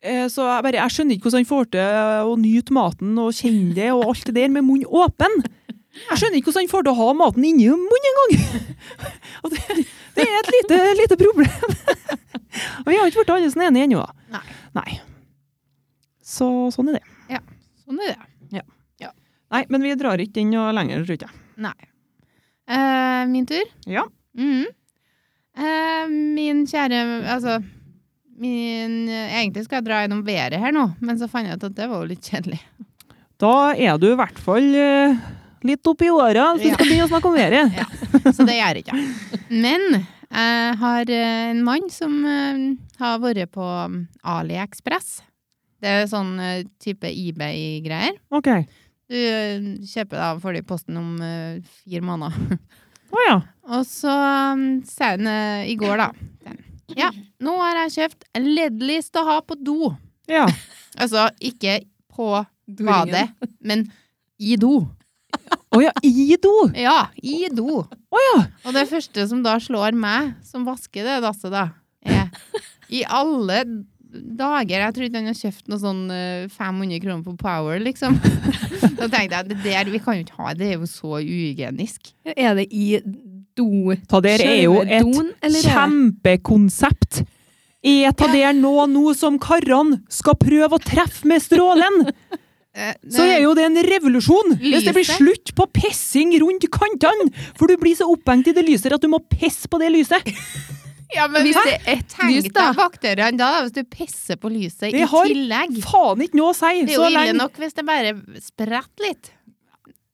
Eh, Så jeg, bare, jeg skjønner ikke hvordan han får til eh, å nyte maten og kjenne det og alt det der med munnen åpen. Jeg skjønner ikke hvordan han får til å ha maten inni munnen engang! *laughs* Og Det, det er et lite, lite problem. *laughs* Og vi har ikke blitt alle som er enige ennå, da. Nei. Nei. Så sånn er det. Sånn er det. Nei, men vi drar ikke den noe lenger, tror jeg. ikke. Eh, min tur? Ja. Mhm. Eh, min kjære Altså min, Egentlig skal jeg dra gjennom været her nå, men så fant jeg ut at det var jo litt kjedelig. Da er du i hvert fall eh, litt oppi åra hvis Ja. du skal begynne å snakke *laughs* om været. Så det gjør jeg ikke. Men eh, jeg har eh, en mann som eh, har vært på mm, AliExpress. Det er sånn eh, type eBay-greier. OK. Du eh, kjøper da får det i posten om eh, fire måneder. Å ja. Og så um, sa hun eh, i går, da den, Ja, nå har jeg kjøpt LED-list å ha på do. Ja. Altså ikke på badet, *laughs* men i do. Å ja, i do! Ja, i do. Å ja! Og det første som da slår meg, som vasker det dasset, da, er I alle dager Jeg tror ikke han har kjøpt noe sånn eh, 500 kroner på Power, *laughs* liksom. Da tenkte jeg det der vi kan jo ikke ha, det er jo så uhygienisk. Er det i do? Ta der er jo Sjølve et doen, eller er det- kjempekonsept. Er ta der nå noe som karene skal prøve å treffe med strålen, Eh, så er jo det en revolusjon! Hvis det blir Lyset. slutt på pissing rundt kantene! For du blir så opphengt i det lyset at du må pisse på det lyset! ja, men Hvis hvis det er ett Tenk lys, da. deg bakteriene da, hvis du pisser på lyset Det i har tillegg. Faen ikke noe å si! Det er jo Så ille lenge nok hvis det bare spretter litt.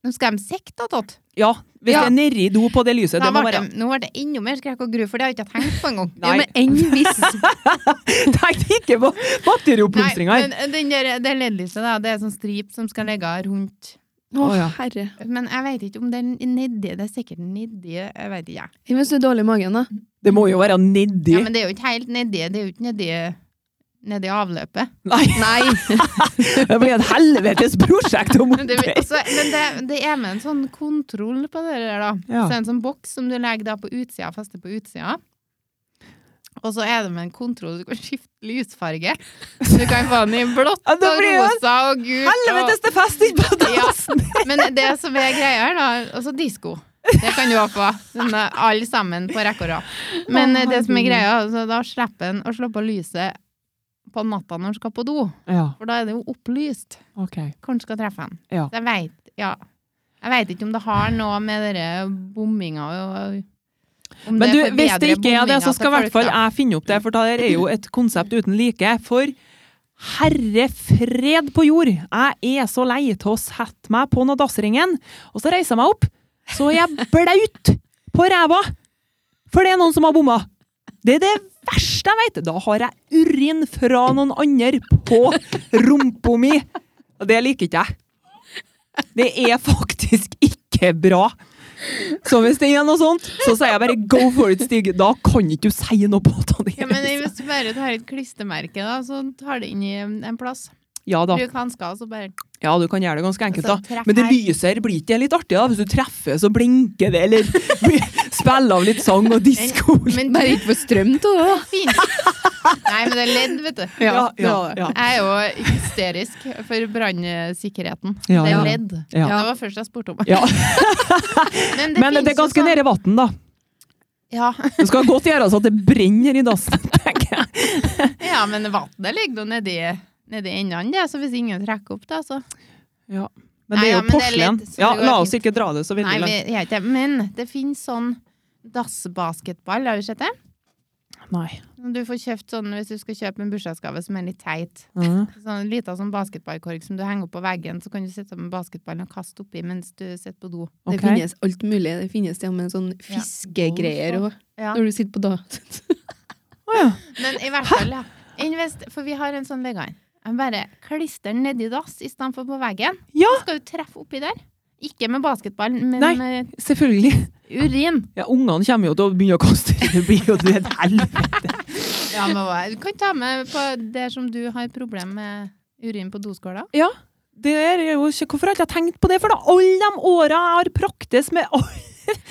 Nå skal de sikte da, Tott. Ja, hvis Ja. det er nedi do på det lyset, Da det må ble være *laughs* det- Nå ble det enda mer skrekk og gru, for det har jeg ikke tenkt på engang. Nei. Ja, men enn *laughs* hvis Tenk ikke på bakterieoppblomstringa her! men den der, det LED-lyset, da, det er sånn strip som skal ligge rundt Å, Å, ja. herre. Men jeg vet ikke om det er nedi, det er sikkert nedi, jeg vet ikke. jeg. Hvis du er dårlig i magen, da. Det må jo være nedi. Ja, men det er jo ikke helt nedi, det er jo ikke nedi, nedi avløpet. Nei, Nei. det blir et helvetes prosjekt å *laughs* Men det, montere! også, men det, det er med en sånn kontroll på det der, da. Så Ja. er det en sånn boks som du legger da på utsida, fester på utsida. Og så er det med en kontroll du kan skifte lysfarge. Så du kan få den *laughs* i blått Ja, og det blir jo en rosa og gult. Og, Helvetes, det fester ikke på Ja. dassen! men det som er greia her, da Altså disko. Det kan du ha på. Sånn, eh, alle sammen på rekke og rad. Men eh, det som er greia, altså, da slipper en å slå på lyset på natta når en skal på do. Ja, For da er det jo opplyst ok. hvor han skal treffe han. Ja. Så Jeg vet, ja. Jeg vet ikke om det har noe med dere bomminga og- om Men det du, forbedrer hvis det ikke er det, bomminga så skal i til hvert folk, fall da. jeg finne opp det, for det her er jo et konsept uten like. For herre fred på jord, jeg er så lei til å sette meg på noe dassringen, og så reiser jeg meg opp, så er jeg *laughs* blaut på ræva! For det er noen som har bomma. Det er det verste jeg vet! Da har jeg urin fra noen andre på rumpa mi! Og det liker ikke jeg. Det er faktisk ikke bra. Så hvis det er noe sånt, så sier jeg bare go for it, Stig. Da kan ikke du si noe på det. ja, men hvis du bare tar et klistremerke, da, så tar det inn i en plass. Ja da. Bruk hansker, og så bare Ja, du kan gjøre det ganske enkelt, Så da. Altså, treff Men det her. lyset her blir ikke det litt artig, da? Hvis du treffer, så blinker det, *laughs* eller spiller av litt sang og disko. Men Bare ikke få strøm til det, da. fint! Nei, men det er ledd, vet du. Ja, ja, ja. Jeg er jo hysterisk for brannsikkerheten. Ja, det ja. er ledd. Ja. Det var først jeg spurte om. Ja. *laughs* Men det, Men det finnes er jo ganske sånn- nede i vann, da. Ja. Det skal godt gjøres at det brenner i dassen, tenker jeg. ja, men vannet ligger nå nedi, nedi enden, det, så hvis ingen trekker opp, da, så Men det Nei, er ja, jo men det er porselen. litt- så Ja, det går la oss fint. ikke dra det så veldig Nei, vi langt. gjør ikke det. Men det finnes sånn dassbasketball, har du sett det? Nei. Du får kjøpt sånn hvis du skal kjøpe en bursdagsgave som er litt teit. Ja. Sånn lita sånn basketballkorg som du henger opp på veggen, så kan du sitte med basketballen og kaste oppi mens du sitter på do. Det Ok. finnes alt mulig. Det finnes til og med sånn fiskegreier Golf og Ja. når du sitter på da. Å ja. Men i hvert fall, *laughs* ja. Invest, for vi har en sånn vegan. Jeg bare klistrer den nedi dass istedenfor på veggen. Ja. Så skal du treffe oppi der. Ikke med basketballen, men Nei. med Selvfølgelig. urin. Ja, Ungene kommer jo til å begynne å kaste Det blir jo et helvete. Ja, men hva- Du kan ta med på det som du har problem med urin på doskåla. Det der er jo ikke, hvorfor har jeg ikke tenkt på det? For da alle de åra jeg har praktes med *laughs*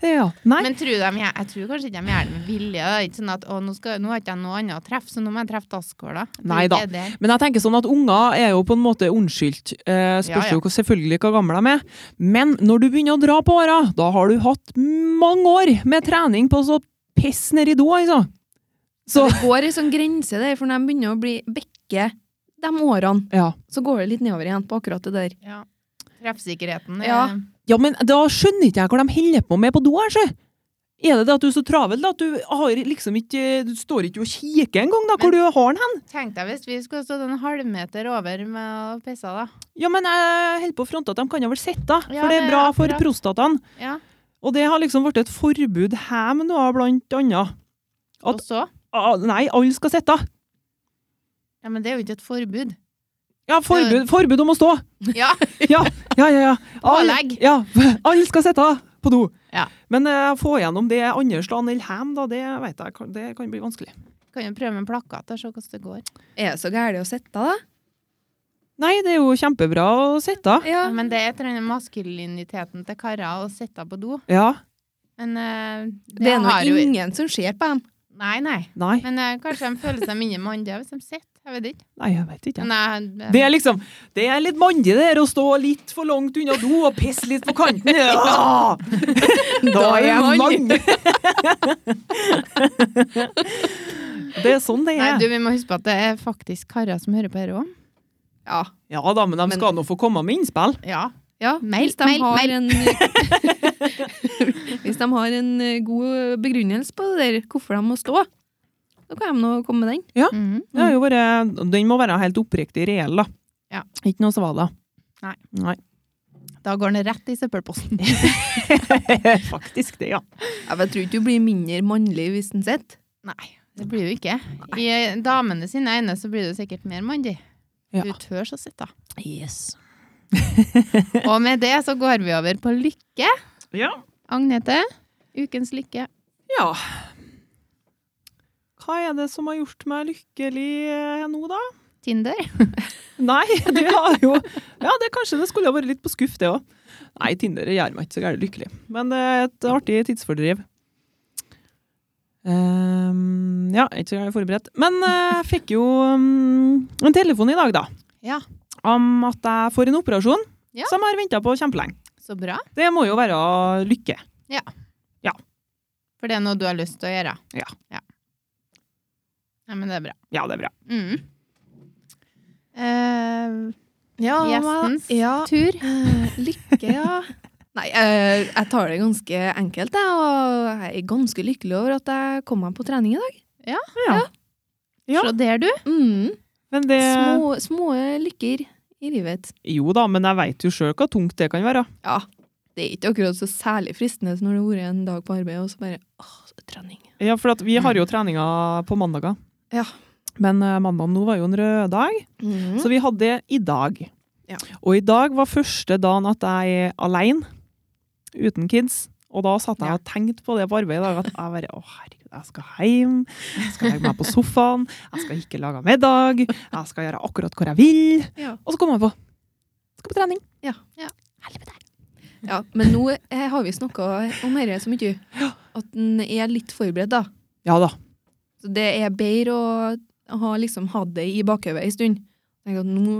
Ja. Nei. Men tror de, jeg, jeg tror kanskje ikke de gjør det med vilje. Det er ikke sånn at å, nå, skal, nå har ikke jeg noe annet å treffe, så nå må jeg treffe dasskåla. Jeg tror Nei ikke da. det er det. Men jeg tenker sånn at unger er jo på en måte unnskyldt. Eh, Ja, spørs ja. jo hvor- selvfølgelig hvor gamle de er. Men når du begynner å dra på åra, da har du hatt mange år med trening på å så pisse nedi do, altså. Så Det går en sånn grense der, for når de begynner å bli bekke de årene, ja. så går det litt nedover igjen på akkurat det der. Ja. Treffsikkerheten eh, er Ja. ja, men da skjønner ikke jeg hva de holder på med på do her, sjø. Er det det at du er så travel da, at du har liksom ikke Du står ikke og kikker engang, da, hvor Men- du har den hen? Tenk deg hvis vi skulle stått en halvmeter over med å pisse, da. Ja, men jeg holder på å fronte at de kan jo vel sitte, for Ja, det det er er bra for akkurat. prostataen. Ja. Og det har liksom blitt et forbud hjemme nå, blant annet. At- Og så Ah, Nei, alle skal sitte. Ja, men det er jo ikke et forbud. Ja, forbud, forbud om å stå. Ja, *laughs* Ja, ja, ja. ja. Pålegg. ja, *laughs* alle skal sitte på do. Ja. Men eh, få gjennom det andre stedet eller hjem, da, det vet jeg, kan- det kan bli vanskelig. kan jo prøve med plakat og se hvordan det går. Er det så gærent å sitte, da? Nei, det er jo kjempebra å sitte. Ja, men det er et eller annet maskuliniteten til karer å sitte på do. Ja, Men eh, det, det, er nå har jo ingen som ser på dem. Nei, nei. nei, Men eh, kanskje de føler seg mindre mandige hvis de sitter. Jeg vet ikke. nei, jeg vet ikke. Men jeg- Det er liksom, det er litt mandig det her å stå litt for langt unna do og pisse litt på *laughs* kanten. Ja! Da er jeg mann! *laughs* Det er sånn det Nei, er. du, vi må huske på at det er faktisk karer som hører på dette òg. Ja. Ja da, men de skal nå få komme med innspill. Ja. ja. Mail, hvis, de mail, har mail. En, *laughs* hvis de har en eh, god begrunnelse på det der, hvorfor de må stå, så kan de nå komme med den. Mhm. Det har jo vært, den må være helt oppriktig reell, da. Ja. Ikke noe svada. Nei. Nei. *laughs* Da går den rett i *laughs* søppelposten. Faktisk det, ja. Ja, men Jeg tror ikke du blir mindre mannlig hvis den sitter. Nei, det blir du ikke. I eh, damene sine øyne så blir du sikkert mer mandig. Ja. Du tør så *laughs* sitte. Og med det så går vi over på lykke. ja. Agnete, ukens lykke. Ja. Hva er det som har gjort meg lykkelig eh, nå, da? Tinder. Nei, det har jo Ja, det kanskje det skulle ha vært litt på skuff, det òg. Nei, Tinder gjør meg ikke så gærent lykkelig. Men det er et artig tidsfordriv. Ehm, ja, jeg er ikke så gærent forberedt. Men eh, jeg fikk jo mm, en telefon i dag, da. Ja. Om at jeg får en operasjon Ja. som jeg har venta på kjempelenge. Så bra. Det må jo være lykke. For det er noe du har lyst til å gjøre. Ja. Ja, ja men det er bra. Ja, det er bra. Mm. Eh, Ja, Gjestens ja. tur. Eh, lykke, ja. Nei, eh, jeg tar det ganske enkelt, jeg. Og jeg er ganske lykkelig over at jeg kom meg på trening i dag. Ja. Så der, du. Mm. Men det Små, små lykker i livet. Jo da, men jeg veit jo sjøl hva tungt det kan være. Ja, det er ikke akkurat så særlig fristende når det har vært en dag på arbeid, og så bare åh, så trening. Ja, for at vi har jo treninger på mandager. Ja. Men eh, mandagen nå var jo en rød dag. Mm. Så vi hadde det i dag. Ja. Og i dag var første dagen at jeg er alene, uten kids. Og da satt jeg Ja. og tenkte på det på arbeid i dag, at jeg bare Å, herregud, jeg skal hjem. Jeg skal legge meg på sofaen. Jeg skal ikke lage middag. Jeg skal gjøre akkurat hvor jeg vil. Ja. Og så kom jeg på Skal på trening. Ja. Ja. Helvete. ja, men nå eh, har vi snakka om dette så mye at en er litt forberedt, da. Ja da. Så det er bedre å ha liksom hatt det i bakhodet en stund. Tenk at nå,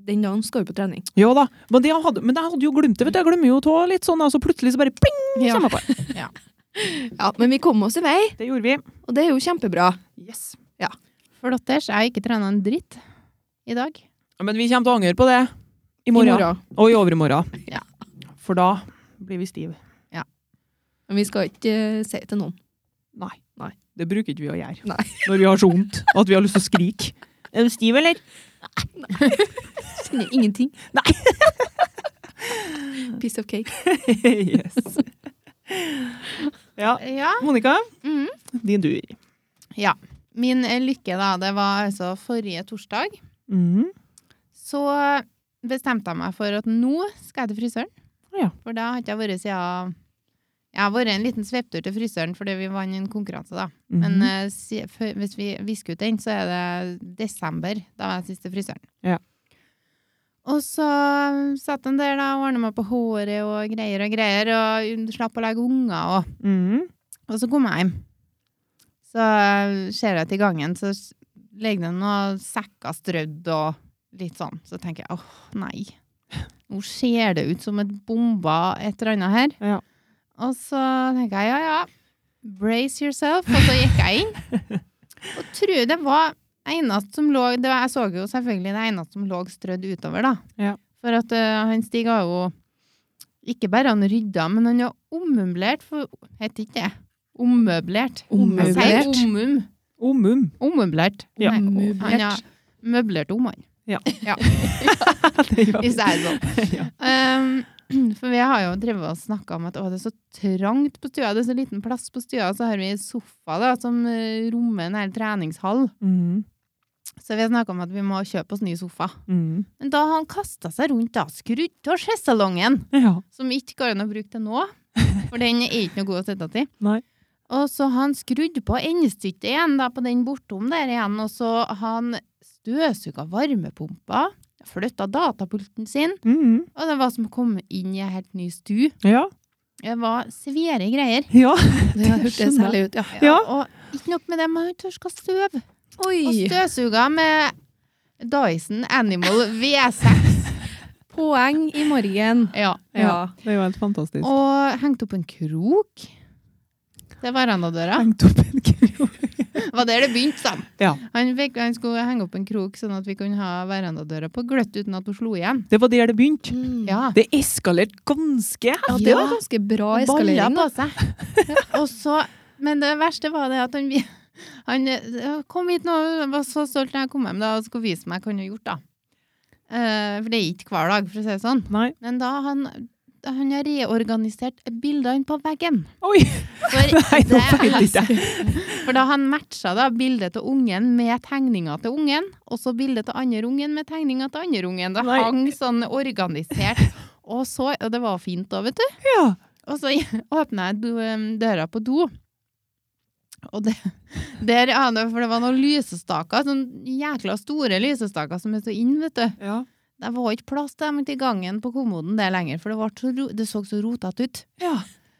den dagen skal vi på trening. Jo da. Men, det jeg hadde, men jeg hadde jo glemt det. vet du. Jeg glemmer jo tå litt sånn, og så plutselig så bare pling! Ja. Kommer jeg på. Ja, men vi kom oss i vei, Det gjorde vi. og det er jo kjempebra. Yes. Flotters. Jeg har ikke trena en dritt i dag. Ja, Men vi kommer til å angre på det i morgen. Og i overmorgen. Ja. For da blir vi stive. Men vi skal ikke eh, si til noen. Nei. Nei. Det bruker ikke vi å gjøre Nei. når vi har så vondt at vi har lyst til å skrike. *laughs* Er du stiv, eller? Kjenner ingenting. Nei. Piece of cake. yes. Ja. Ja. Monica, Mhm. din dur. Min eh, lykke, da, det var altså forrige torsdag. Mhm. Så bestemte jeg meg for at nå skal jeg til frisøren. Å ja. For da har ikke jeg vært siden Jeg har vært en liten svepptur til frisøren fordi vi vant en konkurranse, da. Men Mhm. eh, si- før- hvis vi visker ut den, så er det desember. Da var jeg sist til frisøren. Ja. Og så satt han der da, og ordna meg på håret og greier og greier, og slapp å legge unger og Mhm. og så kom jeg hjem. Så eh, ser jeg til gangen, så s- ligger det noen sekker strødd og litt sånn. Så tenker jeg åh, nei. Nå ser det ut som et bomba et eller annet her. Ja. Og så tenker jeg ja, ja. Brace yourself. Og så gikk jeg inn. *laughs* Og tror det var eneste som lå det var, Jeg så jo selvfølgelig det eneste som lå strødd utover, da. Ja. For at eh, han Stig har jo ikke bare han rydda, men han har ommøblert for Heter ikke det? Ommøblert. Jeg sier Ommøblert. omum. *laughs* Omum. Ommøblert. Ja. Nei, Ommøblert. Han har møblert om han. Det gjør Hvis vi. det er *laughs* sånn. Ja. Um, *clears throat* for vi har jo drevet og snakka om at å, det er så trangt på stua, det er så liten plass på stua. Så har vi sofa da, som eh, rommer en hel treningshall. Mhm. Så vi har snakka om at vi må kjøpe oss ny sofa. Mhm. Men da har han kasta seg rundt, da, skrudd av sjesalongen, Ja. som ikke går an å bruke til *laughs* nå. For den er ikke noe god å sitte til. Nei. Og så har han skrudd på endestykket igjen da, på den bortom der igjen, og så har han støvsuga varmepumpa, flytta datapulten sin, Mhm. og det var som å komme inn i ei helt ny stue. Ja. Det var svære greier. Ja. Det hørtes skjønner særlig ut, ja. Ja. Og ikke nok med det, man tørska støv. Og Oi! støvsuga med Dyson Animal V6. Poeng i morgen. Ja. *laughs* Ja. Det er jo helt fantastisk. Og hengte opp en krok. Det var verandadøra. Hengt opp en krok. var der det begynte, sånn. Ja. Han, fikk, han skulle henge opp en krok sånn at vi kunne ha verandadøra på gløtt uten at hun slo igjen. Det var der det begynte. Ja. Det eskalerte ganske. Mm. Ja, det var Ja. ganske bra Og baller eskalering. på seg. altså. Og så, men det verste var det at han, vi- han eh, kom hit nå, jeg var så stolt da jeg kom hjem da, og skulle vise meg hva han hadde gjort da. Eh, for det er ikke hver dag, for å si det sånn. Nei. Men da han, han har reorganisert bildene på veggen. Oi! For, Nei, nå vet ikke jeg. for da han matcha da bildet til ungen med tegninga til ungen, og så bildet til andre ungen med tegninga til andre ungen. Det Nei. hang sånn organisert. Og så, og det var fint da, vet du. Ja. Og så åpna jeg do, em, døra på do. Og det, der er det, for det var noen lysestaker, sånn jækla store lysestaker som er så inn, vet du. ja. Det var ikke plass til dem ute i gangen på kommoden der lenger, for det, var så, ro- det så så rotete ut. Ja.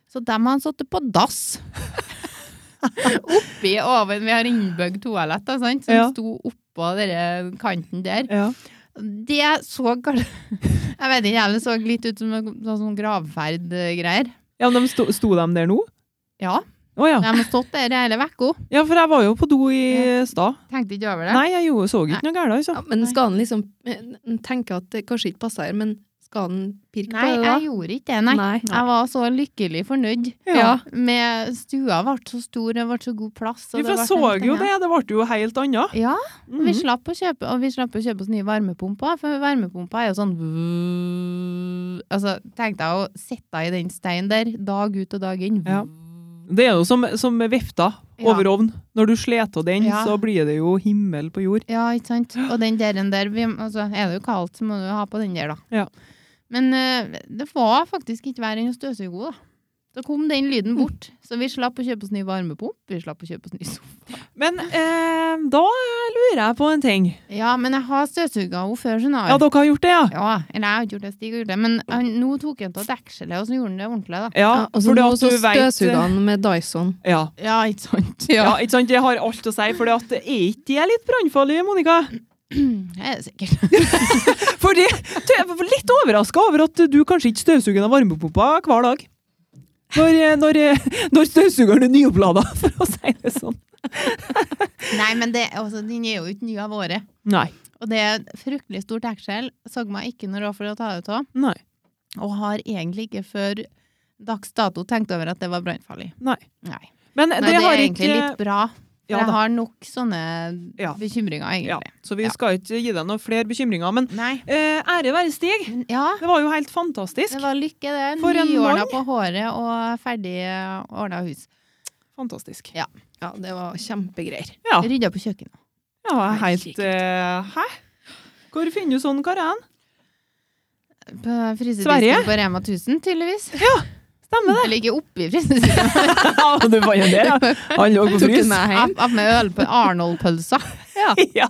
Så dem har han satt på dass. Oppi oven, vi har innbygd toalett, da, sant, som Ja. sto oppå denne kanten der. Ja. Det så kanskje Jeg vet ikke, det så litt ut som en sånn gravferd-greier. ja men de sto, sto de der nå? Ja. Å ja. De har stått der hele vekka. Ja, for jeg var jo på do i stad. Tenkte ikke over det. Nei, jeg jo, så ikke noe galt, altså. Ja, men skal han liksom eh, tenke at det kanskje ikke passer her, men skal han pirke Nei, på det da? jeg gjorde ikke det, nei. Jeg var så lykkelig fornøyd. Ja. Med stua ble så stor, det ble så god plass. og Ja, for jeg ble så helt jo annet. det, det ble jo helt annet. Ja, og vi Mhm. slapp å kjøpe, og vi slapp å kjøpe oss nye varmepumper, for varmepumpa er jo sånn vvvv. Altså, tenkte jeg å sitte i den steinen der, dag ut og dag inn. Ja. Det er jo som, som vifta over ovn. Når du sleter den, Ja. så blir det jo himmel på jord. Ja, ikke sant? Og den der, den der vi, altså, Er det jo kaldt, så må du ha på den der, da. Ja. Men eh, det var faktisk ikke verre enn å støvsuge henne, da. Så kom den lyden bort. Så vi slapp å kjøpe oss ny varmepump. Vi slapp å kjøpe oss ny sofa. Men eh, da lurer jeg på en ting. Ja, men jeg har støvsuga henne før, skjønner Ja, dere har gjort det, ja? Ja, eller jeg har ikke gjort det, Stig har gjort det. Men han, nå tok han av dekselet, og så gjorde han det ordentlig, da. Ja, Ja, og så fordi nå at så du vet- eh, støvsuger han med Dyson. Ja. Ja, ikke sant? Ja. ikke sant? Jeg har alt å si, for det at er ikke de litt brannfarlige, Monica? Det er det sikkert. For det, det jeg var litt overraska over at du kanskje ikke støvsuger den varmepumpa hver dag. Når, eh, når, eh, når støvsugeren er nyopplada, *laughs* for å si det sånn. Nei, men det, altså, den er jo ikke ny av året. Nei. Og det er et fryktelig stort deksel. Så meg ikke noe råd for å ta det ut av. Nei. Og har egentlig ikke før dags dato tenkt over at det var brannfarlig. Nei. Nei. Men Nei, det, det har er ikke egentlig litt bra. For Ja jeg da. har nok sånne Ja. bekymringer, Ja, egentlig. så vi skal ikke gi deg noen flere bekymringer. Men Nei. eh, ære være Stig. Men ja, Det var jo helt fantastisk. det var lykke, det. For en Nyordna mann. på håret og ferdig eh, ordna hus. Fantastisk. Ja, det var kjempegreier. Ja, Rydda på kjøkkenet. ja jeg er Herregud. helt eh, Hæ? Hvor finner du sånn Karen? På Sverige? frysedisken på Rema 1000, tydeligvis. Stemmer *laughs* det. Eller ikke oppi frysedisken. Ja, du var jo der, ja. Han lå på Tok frys. den med hjem. Av av med øl på Arnold-pølsa. *laughs* Ja. Ja,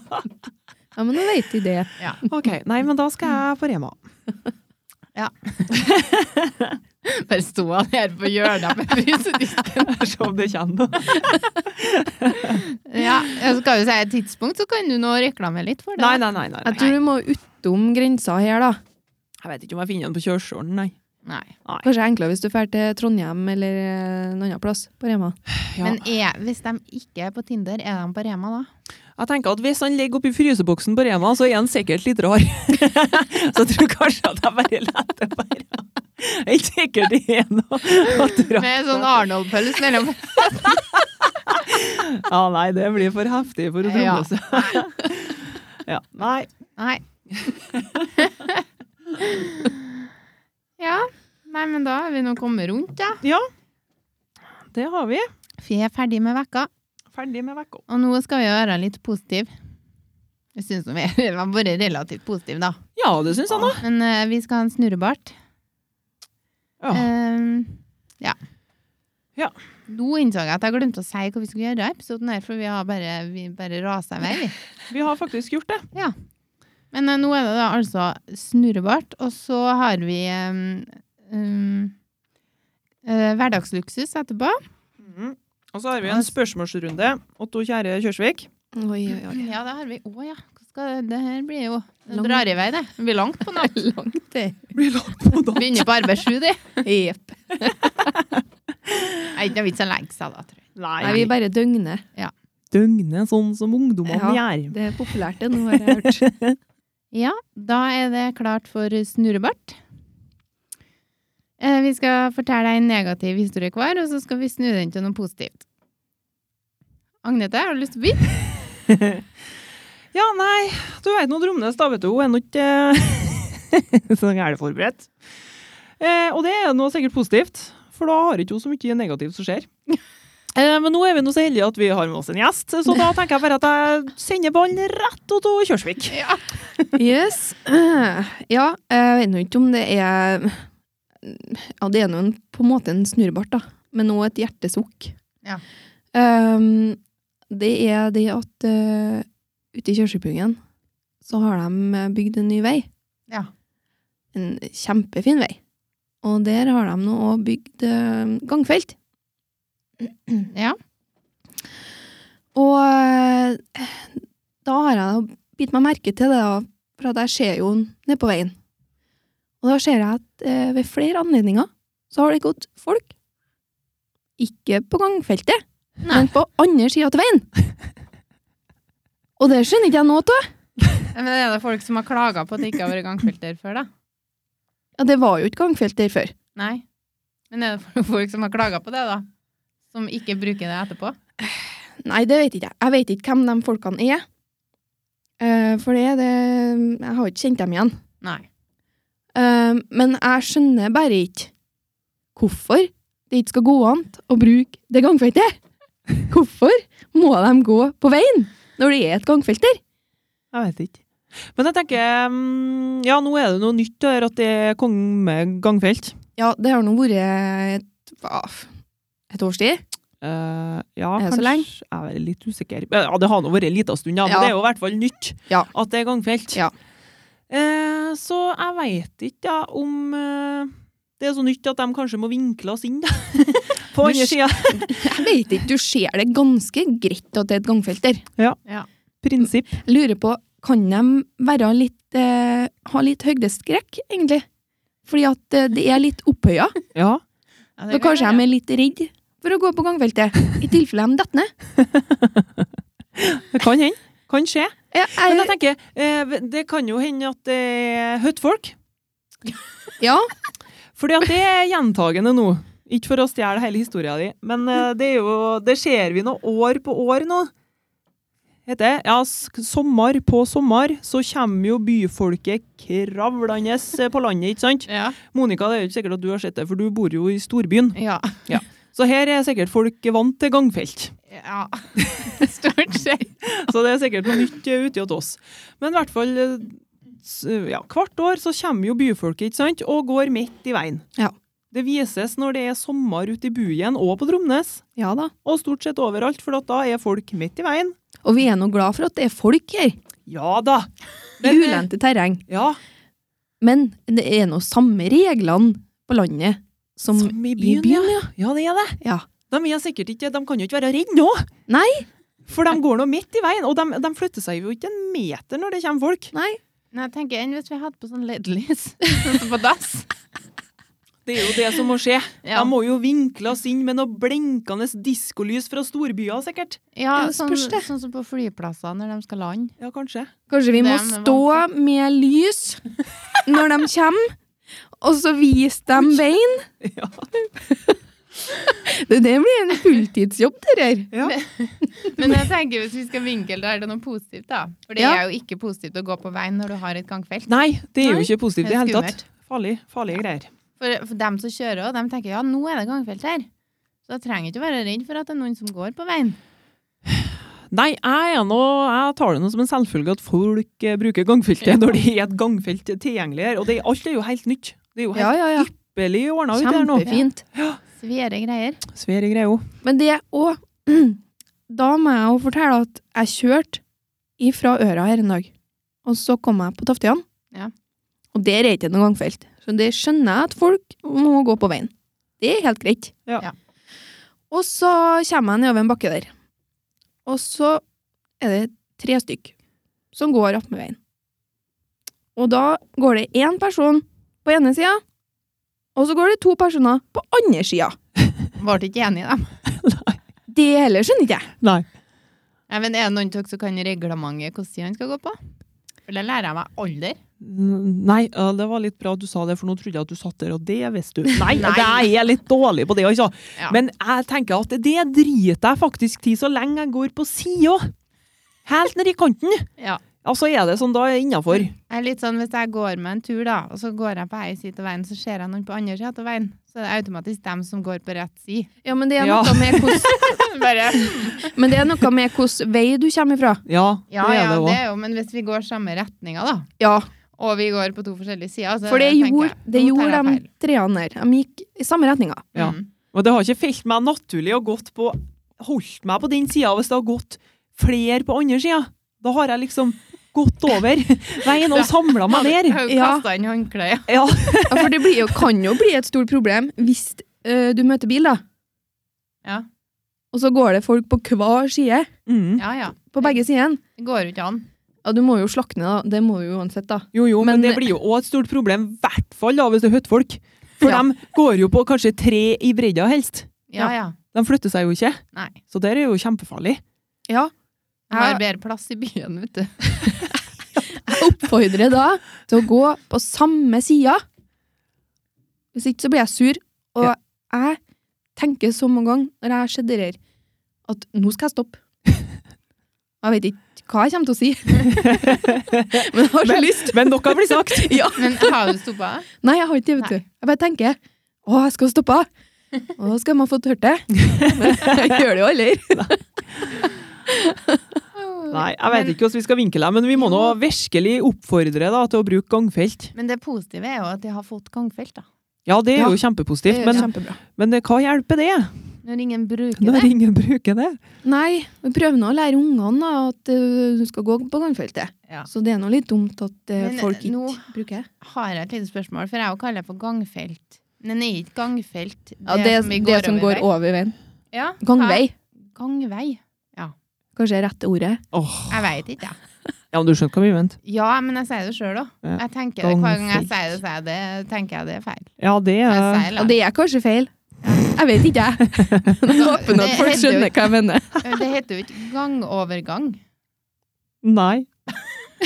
men nå vet de det. OK. Nei, men da skal jeg på Rema. Bare sto han her på hjørnet med frysedisken. Se om det kommer noe. *laughs* Ja, jeg skal jo si et tidspunkt, så kan du nå reklame litt for det. Nei, nei, nei. nei, Jeg nei. tror du må utom grensa her, da. Jeg vet ikke om jeg finner den på kjøreskolen, nei. Nei. Kanskje enklere hvis du drar til Trondheim eller eh, en annen plass på Rema. Ja. Men er, hvis de ikke er på Tinder, er de på Rema da? Jeg tenker at Hvis han ligger oppi fryseboksen på Rema, så er han sikkert litt rar. *laughs* så jeg tror kanskje at jeg bare leter på Rema. Jeg er ikke sikkert det er noe å dra Med på. sånn Arnold-pølse mellom Ja, nei, det blir for heftig for å Ja. prognose. *laughs* Ja. Nei. *laughs* *laughs* Nei. ja. Nei, men da er vi nå kommet rundt, da. Ja, det har vi. Vi er ferdig med vekka, Ferdig med vekka. og nå skal vi være litt positive. Jeg syns vi har vært relativt positive, da. Ja, det syns jeg nå. Men eh, vi skal ha en snurrebart. Ja. Eh, ja. Ja. Nå innså jeg at jeg glemte å si hva vi skulle gjøre i episoden, her, for vi har bare, vi bare rasa i vei. vi. Vi har faktisk gjort det. Men eh, nå er det da altså snurrebart, og så har vi em, em, eh, hverdagsluksus etterpå. Mhm. Og så har vi en spørsmålsrunde. Otto, kjære Kjørsvik. Oi, oi, *laughs* oi. Ja, det har vi. Å ja. Hva skal, det her blir jo Det Lang- drar i vei, det. Det blir langt på natt. Langt det. Blir langt på da. Begynner på arbeid sju, det. Jepp. Nei, Det er ikke noe vits å legge seg da, tror jeg. Nei, vi bare døgner. døgne sånn som ungdommene gjør. Det er populært, det nå, har jeg hørt. Ja, da er det klart for snurrebart. Eh, Vi skal fortelle en negativ historie hver, og så skal vi snu den til noe positivt. Agnete, har du lyst til å *laughs* begynne? Ja, nei, du vet nå Dromnes, da vet du, hun er nå ikke *laughs* så gærent forberedt. Eh, og det er nå sikkert positivt, for da har ikke hun så mye negativt som skjer. Eh, men nå er vi nå så heldige at vi har med oss en gjest, så da tenker jeg bare at jeg sender ballen rett ut til Kjørsvik. Yes. *clears throat* Ja, jeg vet nå ikke om det er Ja, det er nå en- på en måte en snurrebart, da, men òg et hjertesukk. Ja. Ehm, det er det at eh, ute i Kjørsvikbyggen så har de bygd en ny vei. Ja. En kjempefin vei. Og der har de nå òg bygd eh, gangfelt. Ja. Og eh, da har jeg bitt meg merke til det, da, for at jeg ser jo den nede på veien. Og da ser jeg at eh, ved flere anledninger så har det gått folk. Ikke på gangfeltet, Nei. men på andre sida til veien. Og det skjønner ikke jeg noe av. Men er det folk som har klaga på at det ikke har vært gangfelt der før, da? Ja, det var jo ikke gangfelt der før. Nei. Men er det folk som har klaga på det, da? Som ikke bruker det etterpå? Nei, det vet ikke jeg. Jeg vet ikke hvem de folkene er. Eh, for det, er det Jeg har ikke kjent dem igjen. Nei. Um, men jeg skjønner bare ikke hvorfor det ikke skal gå an å bruke det gangfeltet. Hvorfor må de gå på veien når det er et gangfelt der? Jeg vet ikke. Men jeg tenker, mm, ja, nå er det noe nytt der at det er kongen med gangfelt. Ja, det har nå vært et, hva, et års tid. Eh, ja, Er det så kanskje- Jeg er litt usikker. Ja, det har nå vært en liten stund, ja, men Ja. det er jo i hvert fall nytt Ja. at det er gangfelt. Ja. Eh, så jeg veit ikke ja, om eh, det er så nytt at de kanskje må vinkle oss inn, *laughs* da. På Du andre sida. Jeg vet ikke, Du ser det ganske greit at det er et gangfelt der. Prinsipp. Jeg lurer på, kan de være litt, eh, ha litt høydeskrekk, egentlig? Fordi at eh, det er litt opphøya. Ja. Ja, Så kanskje de er litt redd for å gå på gangfeltet, i tilfelle de detter ned. Det kan hende. Kan skje. Jeg- jeg- Men jeg tenker, eh, det kan jo hende at det er høttfolk. Ja, Fordi at det er gjentagende nå Ikke for å stjele hele historia di, men eh, det er jo Det ser vi nå år på år nå. Heter det. Ja, s- sommer på sommer så kommer jo byfolket kravlende eh, på landet, ikke sant? Ja. Monica, det er jo ikke sikkert at du har sett det, for du bor jo i storbyen. ja. Så her er sikkert folk vant til gangfelt. ja. *laughs* Stort sett. Så det er sikkert noe nytt eh, ute hos oss. Men i hvert fall eh, s- ja, hvert år så kommer jo byfolket ikke sant? og går midt i veien. Ja. Det vises når det er sommer ute i byen og på Tromnes, Ja da. og stort sett overalt, for at da er folk midt i veien. Og vi er nå glad for at det er folk her. Ja da! Men, eh, Julente terreng. Ja, Men det er nå samme reglene på landet som, som i i byen. ja. byen, ja. ja, det er det. ja. De, er sikkert ikke, de kan jo ikke være redde nå. Nei. For de går nå midt i veien, og de, de flytter seg jo ikke en meter når det kommer folk. Nei. Nei, jeg tenker enn hvis vi hadde på sånn *laughs* LED-lys sånn som på dass. Det er jo det som må skje. *laughs* Ja. De må jo vinkle oss inn med noe blinkende diskolys fra storbyer, sikkert. Ja, Ja, sånn, spørs det. sånn som på flyplasser når de skal lande. Ja, kanskje. Kanskje vi Det må er med stå med lys når de kommer, og så vise dem veien. *laughs* Ja. Det, det blir en fulltidsjobb, det der. Men jeg tenker hvis vi skal vinkle, da er det noe positivt, da. For det Ja. er jo ikke positivt å gå på veien når du har et gangfelt. Nei, det er jo Nei, ikke positivt i det helt hele tatt. Farlig, farlige greier. For, for dem som kjører òg, de tenker ja, nå er det gangfelt her. Så jeg trenger ikke å være redd for at det er noen som går på veien. Nei, jeg, er nå, jeg tar det nå som en selvfølge at folk eh, bruker gangfeltet når det er et gangfelt tilgjengelig her. Og det, alt er jo helt nytt. Det er jo Ja, helt ja, ja. ypperlig ordna ut her nå. Kjempefint. Svære greier. Svære greier. Men det òg *clears throat* Da må jeg jo fortelle at jeg kjørte ifra Øra her en dag. Og så kom jeg på Taftian. Ja. Og der er ikke noe gangfelt. Så det skjønner jeg at folk må gå på veien. Det er helt greit. Ja. Ja. Og så kommer jeg nedover en bakke der. Og så er det tre stykk som går attmed veien. Og da går det én person på ene sida, og så går det to personer på andre sida. Ble ikke enig i dem. Det heller skjønner ikke jeg. Nei. Nei, men er det noen av dere som kan reglementet hvordan siden han skal gå på? For det lærer jeg meg aldri. N- Nei, ja, det var litt bra at du sa det, for nå trodde jeg at du satt der, og det visste du. *laughs* Nei, Nei. det er jeg litt dårlig på det, altså. Ja. Men jeg tenker at det driter jeg faktisk til så lenge jeg går på sida. Helt nedi kanten. Ja. Ja, så er det sånn da er innafor. Jeg er litt sånn, Hvis jeg går med en tur, da, og så går jeg på ei side av veien, så ser jeg noen på andre sida av veien, så er det automatisk dem som går på rett side. Ja, men det er Ja. noe med hvordan- *laughs* Bare, men det er noe med hvilken vei du kommer ifra. Ja, ja, det er ja, det det òg. er jo, men hvis vi går samme retninga, da, Ja, og vi går på to forskjellige sider, så for det tenker gjorde, jeg, det nå tar gjorde jeg de feil. treene der. De gikk i samme retninga. Ja. Mm. Men det har ikke felt meg naturlig å gått på Holdt meg på den sida hvis det har gått flere på andre sida. Da har jeg liksom gått over *laughs* *laughs* veien og samla meg der. Jeg har jo Ja. kasta inn håndkleet. Ja. Ja, for det blir jo, kan jo bli et stort problem hvis eh, du møter bil, da. Ja. Og så går det folk på hver side, Mm. Ja, ja. på begge sidene. Det går jo ikke an. Ja, du må jo slakne, da. Det må du jo uansett, da. Jo, jo, men, Men- det blir jo òg et stort problem, i hvert fall da, hvis det er høttfolk. For Ja. de går jo på kanskje tre i bredda helst. Ja, ja. De flytter seg jo ikke, Nei. så der er jo kjempefarlig. Ja. Jeg har Ja. bedre plass i byen, vet du. Oppfordrer da til å gå på samme sida. Hvis ikke så blir jeg sur. Og Ja. jeg tenker så mange ganger når jeg har sett det her, at nå skal jeg stoppe. Jeg vet ikke hva jeg kommer til *laughs* å si. Men jeg har så Men- lyst. Men noe blir sagt. Ja. Men har du stoppa? *laughs* Nei, jeg har ikke det, vet du. Jeg bare tenker å, jeg skal stoppe. Og da skal man få hørt *laughs* det. Men jeg gjør det jo aldri. Nei, jeg vet ikke hvordan vi skal vinkle det, men vi må nå virkelig oppfordre da, til å bruke gangfelt. Men det positive er jo at de har fått gangfelt, da. Ja, det er jo Ja. kjempepositivt, Det er men, kjempebra. men det- hva hjelper det Når ingen bruker når det. ingen bruker det? Nei, vi prøver nå å lære ungene da, at eh, du skal gå på gangfeltet. Ja. Så det er nå litt dumt at eh, Men, eh, folk ikke nå- bruker det. Har jeg et lite spørsmål, for jeg jo kaller det for gangfelt. Men det er ikke gangfelt, det, Ja, det, som vi går det som over går i. over veien. Ja, Gangvei, hva- Gangvei. kanskje er rette ordet. Åh, Jeg veit ikke, jeg. ja, men du skjønner hva vi mente. Ja, men jeg sier det sjøl òg. Ja, Jeg tenker det hver gang jeg gangfelt. sier det, sier jeg det, tenker jeg det er feil. Ja, det Jeg er... sier Ja, det er kanskje feil. Jeg vet ikke, jeg. Men jeg håper nå Det at folk heter jo- skjønner hva jeg mener. det heter jo ikke *laughs* gangovergang. Nei.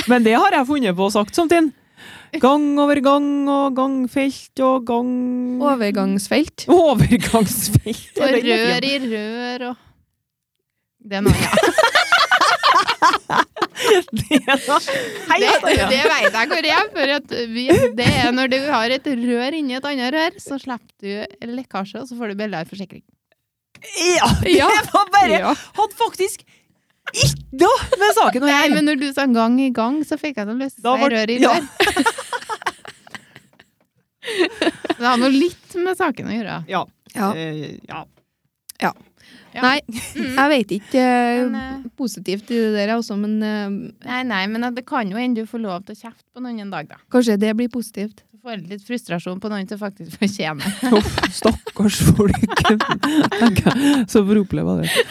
Men det har jeg funnet på og sagt samtidig. Gang over gang og gangfelt og gang Overgangsfelt. Overgangsfelt. Og Den er rør fin. i rør og Det er noe, *laughs* ja. Det er da- Hei, Det, Katarina. det vet jeg hvor jeg er. For at vi, det er når du har et rør inni et annet rør, så slipper du lekkasje, og så får du billigere forsikring. *laughs* Ja, Ja. det var bare Ja. Hadde faktisk ikke noe med saken å Nei, gjøre. men når du sa gang i gang, så fikk jeg noe lyst til Da å si ble- rør i ja. rør. Det har nå litt med saken å gjøre. Ja. Ja. Eh, ja. Ja. Nei, jeg vet ikke eh, Men, positivt i det der jeg også, men eh, Nei, nei, men det kan jo hende du får lov til å kjefte på noen en dag, da. kanskje det blir positivt. Du får litt frustrasjon på noen som faktisk fortjener Uff, stakkars folk. Tenker jeg, *laughs* Så får oppleve det.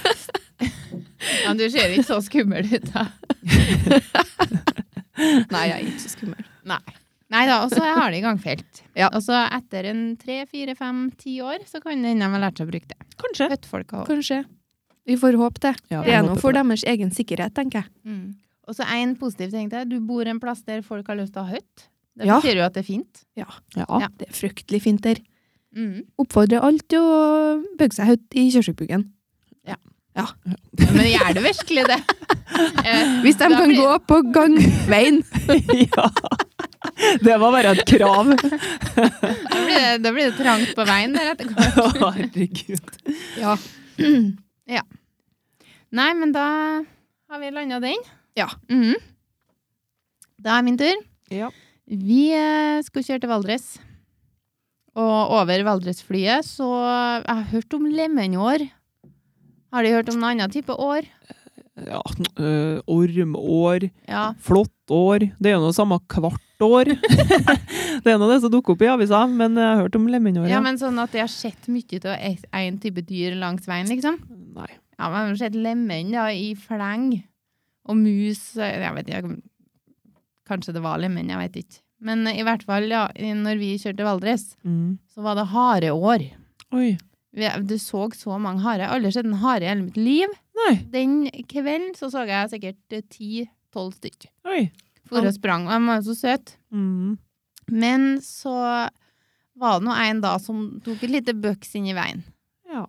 Men du ser ikke så skummel ut, *laughs* da. Nei, jeg er ikke så skummel. Nei. Nei da, og så har de gangfelt. Ja. Og så etter en tre, fire, fem, ti år, så kan det hende de har lært seg å bruke det. Kanskje. Føttfolk har Kanskje. Vi får håpe det. Ja, Det jeg er noe håper for på det. deres egen sikkerhet, tenker jeg. Mm. Og så en positiv ting til. Du bor en plass der folk har lyst til å ha hytte. Det Ja. betyr jo at det er fint. Mm. Ja. Ja. Det er fryktelig fint der. Oppfordrer alle til å bygge seg høyt i *laughs* Kjørsvikbugen. Men gjør det virkelig *laughs* det? Eh, Hvis de da kan blir- gå på gangveien. *laughs* ja. Det var bare et krav. Da blir det, da blir det trangt på veien der etter hvert. Å, Herregud. *clears throat* Ja. Nei, men da har vi landa den. Ja. Mhm. Da er min tur. Ja. Vi eh, skulle kjøre til Valdres. Og over Valdresflyet så Jeg har hørt om lemenår. Har de hørt om noen annen type år? ja. eh, Ormår, Ja. flåttår Det er jo noe samme hvert år. *laughs* det er nå det som dukker opp i avisa, men jeg har hørt om lemenår. ja, Ja. men sånn at jeg har sett mye av én type dyr langs veien, liksom. Nei. Ja, men jeg har sett lemen da, i fleng. Og mus eh, Jeg vet ikke. Kanskje det var lemen, jeg vet ikke. Men eh, i hvert fall, ja, i- når vi kjørte til Valdres, Mm. så var det hareår. Oi. Vi- Du så så mange harer. Jeg har aldri sett en hare i hele mitt liv. Nei. Den kvelden så, så jeg sikkert ti-tolv stykk. Oi. For Ja. og sprang, og de var jo så søte. Mm. Men så var det nå en da som tok et lite bøks inn i veien. Ja.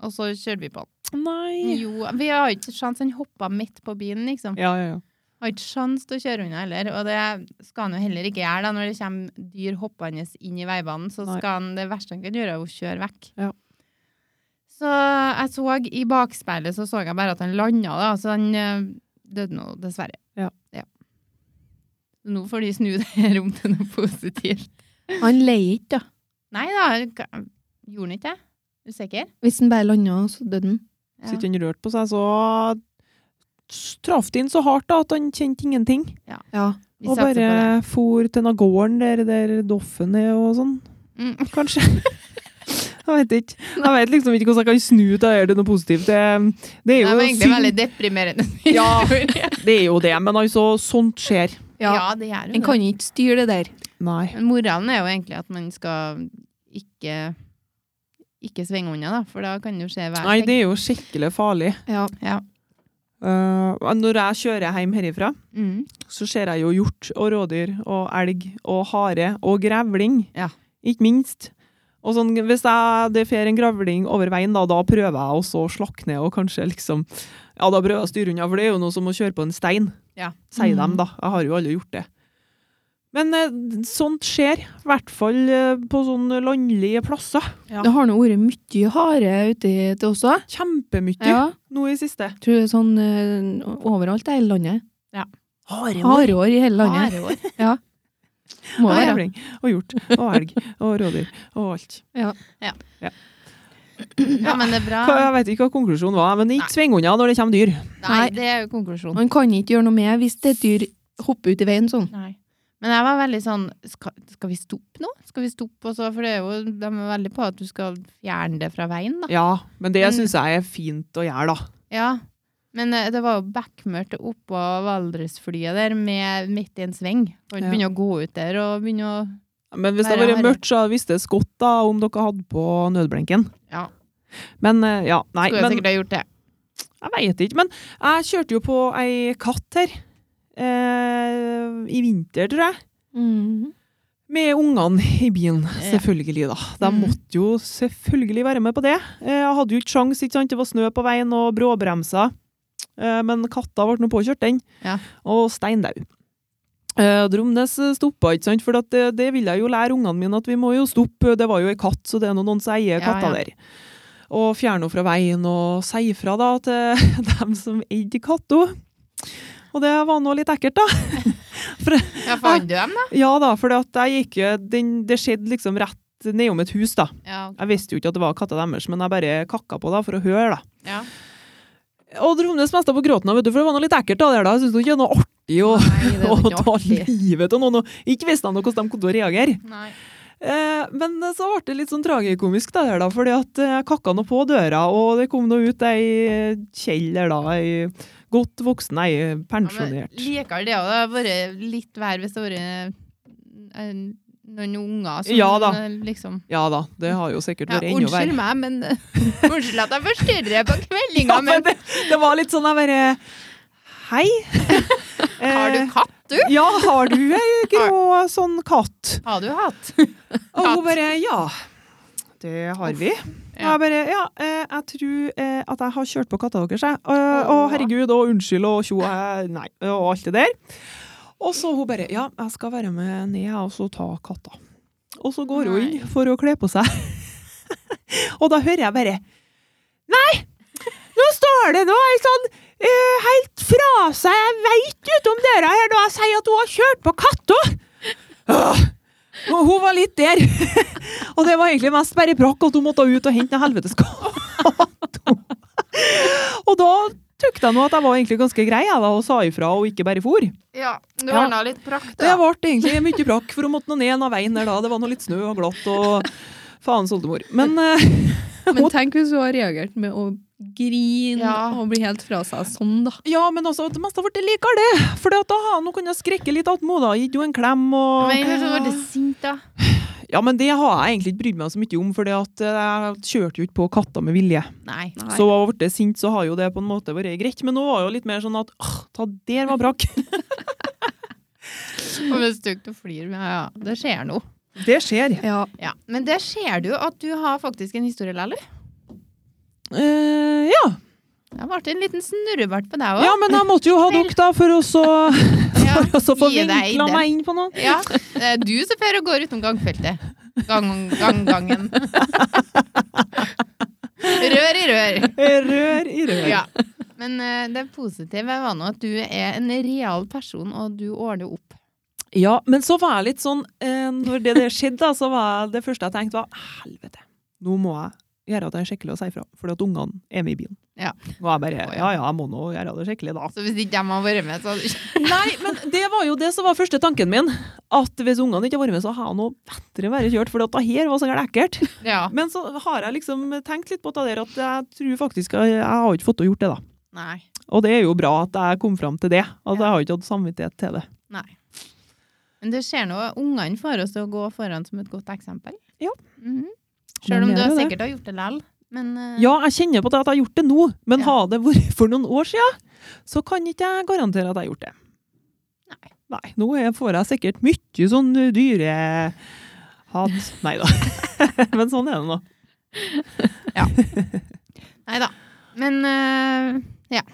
Og så kjørte vi på den. Nei. Jo, vi har jo ikke sjans, han hoppa midt på bilen, liksom. Ja, ja, ja. Har ikke sjans til å kjøre unna heller. Og det skal han jo heller ikke gjøre, da. Når det kommer dyr hoppende inn i veibanen, så Nei. skal han, det verste han kan gjøre, er å kjøre vekk. Ja. Så jeg så i bakspeilet, så så jeg bare at han landa, da. Så han eh, døde nå, dessverre. Ja. Så Nå får de snu *laughs* det her om til noe positivt. *laughs* Han leier ikke, da. Nei da, ka- gjorde han ikke det? Er du sikker? Hvis han bare lander, så døde han. Så ikke han rørte på seg, så traff det inn så hardt da, at han kjente ingenting. Ja. Vi Og satser på det. bare for til den gården der, der Doffen er og sånn, Mm. *laughs* kanskje. Jeg vet ikke. Jeg vet liksom ikke hvordan jeg kan snu det her til noe positivt. Det, det Det er var jo egentlig veldig synd. deprimerende. Ja. *laughs* ja. Det er jo det, men altså, sånt skjer. Ja. det gjør jo Han kan ikke styre det der. Nei. Men moralen er jo egentlig at man skal ikke ikke svinge unna, da, for da kan det jo skje hver Nei, det er jo skikkelig farlig. Ja. Ja. Eh, når jeg kjører hjem herifra, Mm. så ser jeg jo hjort og rådyr og elg og hare og grevling. Ja. Ikke minst. Og sånn, hvis jeg, det fer en grevling over veien, da, da prøver jeg også å slakke ned og kanskje liksom Ja, da prøver jeg å styre unna, for det er jo noe som å kjøre på en stein, Ja. Mm. sier Mhm. de da. Jeg har jo aldri gjort det. Men eh, sånt skjer. I hvert fall eh, på sånne landlige plasser. Ja. Det har nå vært mye hare ute til også. Kjempemye nå i siste. Tror det er sånn eh, overalt i hele landet. Hare Hareår i hele landet. Hare år. Må og være. grevling og hjort og elg og rådyr og alt. Ja, men det er bra. Hva, jeg vet ikke hva konklusjonen var, men ikke sving unna når det kommer dyr. Nei, det er jo konklusjonen. Man kan ikke gjøre noe med hvis et dyr hopper ut i veien sånn. Nei. Men jeg var veldig sånn Skal, skal vi stoppe nå? Skal vi stoppe også? For det er jo, de er veldig på at du skal fjerne det fra veien, da. Ja, men det Men- syns jeg er fint å gjøre, da. Ja. Men eh, det var jo bekmørkt oppå Valdresflyet der, med, midt i en sving. Kan Ja. ikke begynne å gå ut der og begynne å Men hvis det hadde Bare vært harry. mørkt, så hadde visst det godt da, om dere hadde på nødblinken. Ja. Men eh, ja, nei, Skulle jeg men sikkert ha gjort det. jeg veit ikke. Men jeg kjørte jo på ei katt her. Eh, I vinter, tror jeg. *laughs* Mm. Med ungene i bilen, selvfølgelig, da. De Mm. måtte jo selvfølgelig være med på det. Eh, Jeg hadde jo ikke sjans, ikke sant. Det var snø på veien og bråbremser. Eh, Men katta ble nå påkjørt, den. Ja. Og steindau. Eh, Dromnes eh, stoppa, ikke sant. For at det, det ville jeg jo lære ungene mine, at vi må jo stoppe. Det var jo ei katt, så det er nå noen som eier Ja, katta ja. der. Og fjerne henne fra veien, og si ifra da til *laughs* dem som eide katta. Og det var nå litt ekkelt, da. Ja, fant du dem, da? Ja da, for jeg gikk, jo- den, det skjedde liksom rett nedom et hus. da. Ja. Jeg visste jo ikke at det var katta deres, men jeg bare kakka på da, for å høre. da. ja. Og Dromnes mesta på gråten, da, vet du, for det var noe litt ekkelt. da, der, da. Jeg syns ikke det er noe artig å, Nei, det er jo *laughs* å ikke ta artig. livet av noen. og Ikke visste han noe hvordan de kom til å reagere. Nei. Eh, men så ble det litt sånn tragikomisk, da, der, da, fordi at eh, jeg kakka nå på døra, og det kom nå ut ei eh, Kjell der, da. Ei godt voksen, ei Ja, men pensjonert. Liker det òg. Det har vært litt vær hvis det har vært eh, noen unger som Ja da. eh, liksom Ja da, det har jo sikkert ja, vært enda verre. Unnskyld meg, men eh, *laughs* Unnskyld at jeg forstyrrer på kveldinga, Ja, men men det, det var litt sånn jeg bare Hei. *laughs* Eh, har du katt, du? Ja, har du ei grå sånn katt? Har du hatt? Og Katt. hun bare Ja, det har vi. Og Ja. Jeg bare Ja, eh, jeg tror eh, at jeg har kjørt på katta deres, jeg. Eh, Og Åh. herregud og unnskyld og tjo jeg- Nei, og alt det der. Og så hun bare Ja, jeg skal være med ned og så ta katta. Og så går hun Nei. inn for å kle på seg. *laughs* og da hører jeg bare Nå står det nå ei sånn eh, helt fra seg Jeg veit utom døra her nå jeg sier at hun har kjørt på katta! Åh, Og hun var litt der. *laughs* og det var egentlig mest bare brakk at hun måtte ut og hente en helvetes katt. *laughs* og da tykte jeg nå at jeg var egentlig ganske grei jeg da, og sa ifra og ikke bare for. Ja. Du Ja. ordna litt prakt, Det da. ble egentlig mye brakk, for hun måtte nå ned en av veien der da. Det var nå litt snø og glatt og faens oldemor. Men eh, Men tenk hvis hun har reagert med å grine Ja. og bli helt fra seg sånn, da. Ja, men altså, det meste har blitt likere, det. For at da, nå kunne jeg skrekke litt attmed, da. Gitt jo en klem og Men så ble du sint, da. Ja, men det har jeg egentlig ikke brydd meg så mye om, for jeg kjørte jo ikke på katta med vilje. Nei. Nei. Så har jeg blitt sint, så har jo det på en måte vært greit. Men nå var jo litt mer sånn at åh, ta der var *laughs* brakk. Og hvis du ikke flyr, men ja, det skjer noe. Det skjer. Ja. Ja. Men det ser du at du har faktisk en historie, Lally. Eh, ja. Det ble en liten snurrebart på deg òg. ja, men jeg måtte jo ha dere, da, for å så *laughs* Ja, for å så få gi deg vinkla den. meg inn på noe. Ja, det er du som fer og går utenom gangfeltet. Gang, gang, gangen. Rør i rør. Rør i rør. Ja. Men eh, det positive var nå at du er en real person, og du ordner opp. Ja, men så var jeg litt sånn eh, Når det der skjedde, da, så var jeg- det første jeg tenkte, var helvete, nå må jeg gjøre at jeg er skikkelig og si ifra, fordi at ungene er med i bilen. Ja. Og jeg bare Ja, ja, jeg må nå gjøre det skikkelig, da. Så hvis ikke de har vært med, så hadde du ikke Nei, men det var jo det som var første tanken min. At hvis ungene ikke har vært med, så har jeg nå bedre vært kjørt, for det her var så gærent ekkelt. Ja. Men så har jeg liksom tenkt litt på det der at jeg tror faktisk jeg, jeg har ikke fått gjort det, da. Nei. Og det er jo bra at jeg kom fram til det. At jeg har ikke hatt samvittighet til det. Nei. Men det skjer noe. Ungene får oss til å gå foran som et godt eksempel. Ja. Mhm. Men Selv om det du er jo det. sikkert har gjort det lell. Men eh, Ja, jeg kjenner på det at jeg har gjort det nå, men Ja. har det vært *laughs* for noen år siden, så kan ikke jeg garantere at jeg har gjort det. Nei. Nei, nå er- får jeg sikkert mye sånn *laughs* dyrehat. Nei da. *laughs* men sånn er det nå. Nei da. Men eh, ja.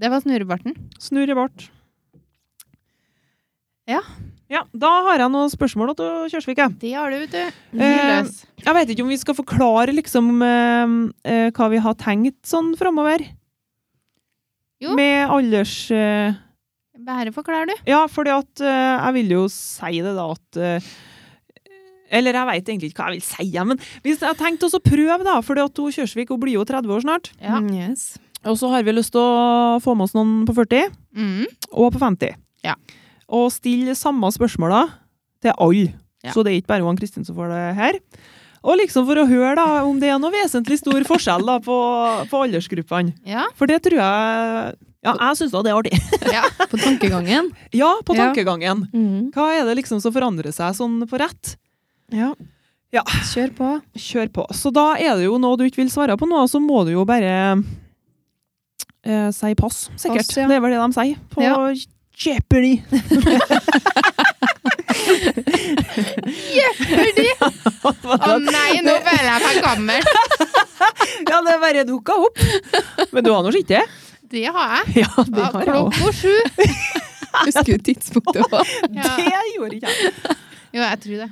Det var snurrebarten. Snurr i bart. Ja. Ja, Da har jeg noen spørsmål til Kjørsvik. jeg. Det har du, vet du. Eh, Løs. Jeg vet ikke om vi skal forklare liksom eh, eh, hva vi har tenkt sånn framover. Jo. Med alders... Eh, Bare forklar, du. Ja, fordi at eh, jeg vil jo si det da at eh, Eller jeg veit egentlig ikke hva jeg vil si, ja, men hvis jeg har tenkt oss å prøve, da. For Kjørsvik hun blir jo 30 år snart. Ja. Mm, Yes. Og så har vi lyst til å få med oss noen på 40 Mm. og på 50. Ja. Og stille samme spørsmåla til alle. Ja. Så det er ikke bare hun Kristin som får det her. Og liksom for å høre da, om det er noe vesentlig stor forskjell da, på, på aldersgruppene. *laughs* Ja. For det tror jeg Ja, jeg syns da det er artig. ja. På tankegangen. Ja, på Ja. tankegangen. Mm. Hva er det liksom som forandrer seg sånn på rett? Ja. Ja. Kjør på. Kjør på. Så da er det jo noe du ikke vil svare på nå, så må du jo bare eh, si pass, sikkert. Pass, *laughs* ja. Det er vel det de sier på Ja. Jeopardy. Gjør de? Å nei, nå føler jeg meg gammel. Ja, det bare dukka opp. Men du har nå ikke det? Det har jeg. Ja, *laughs* Ja, det har jeg òg. Klokka sju. Husker du tidspunktet var? Ja. *laughs* Det gjorde ikke jeg. Jo, jeg tror det.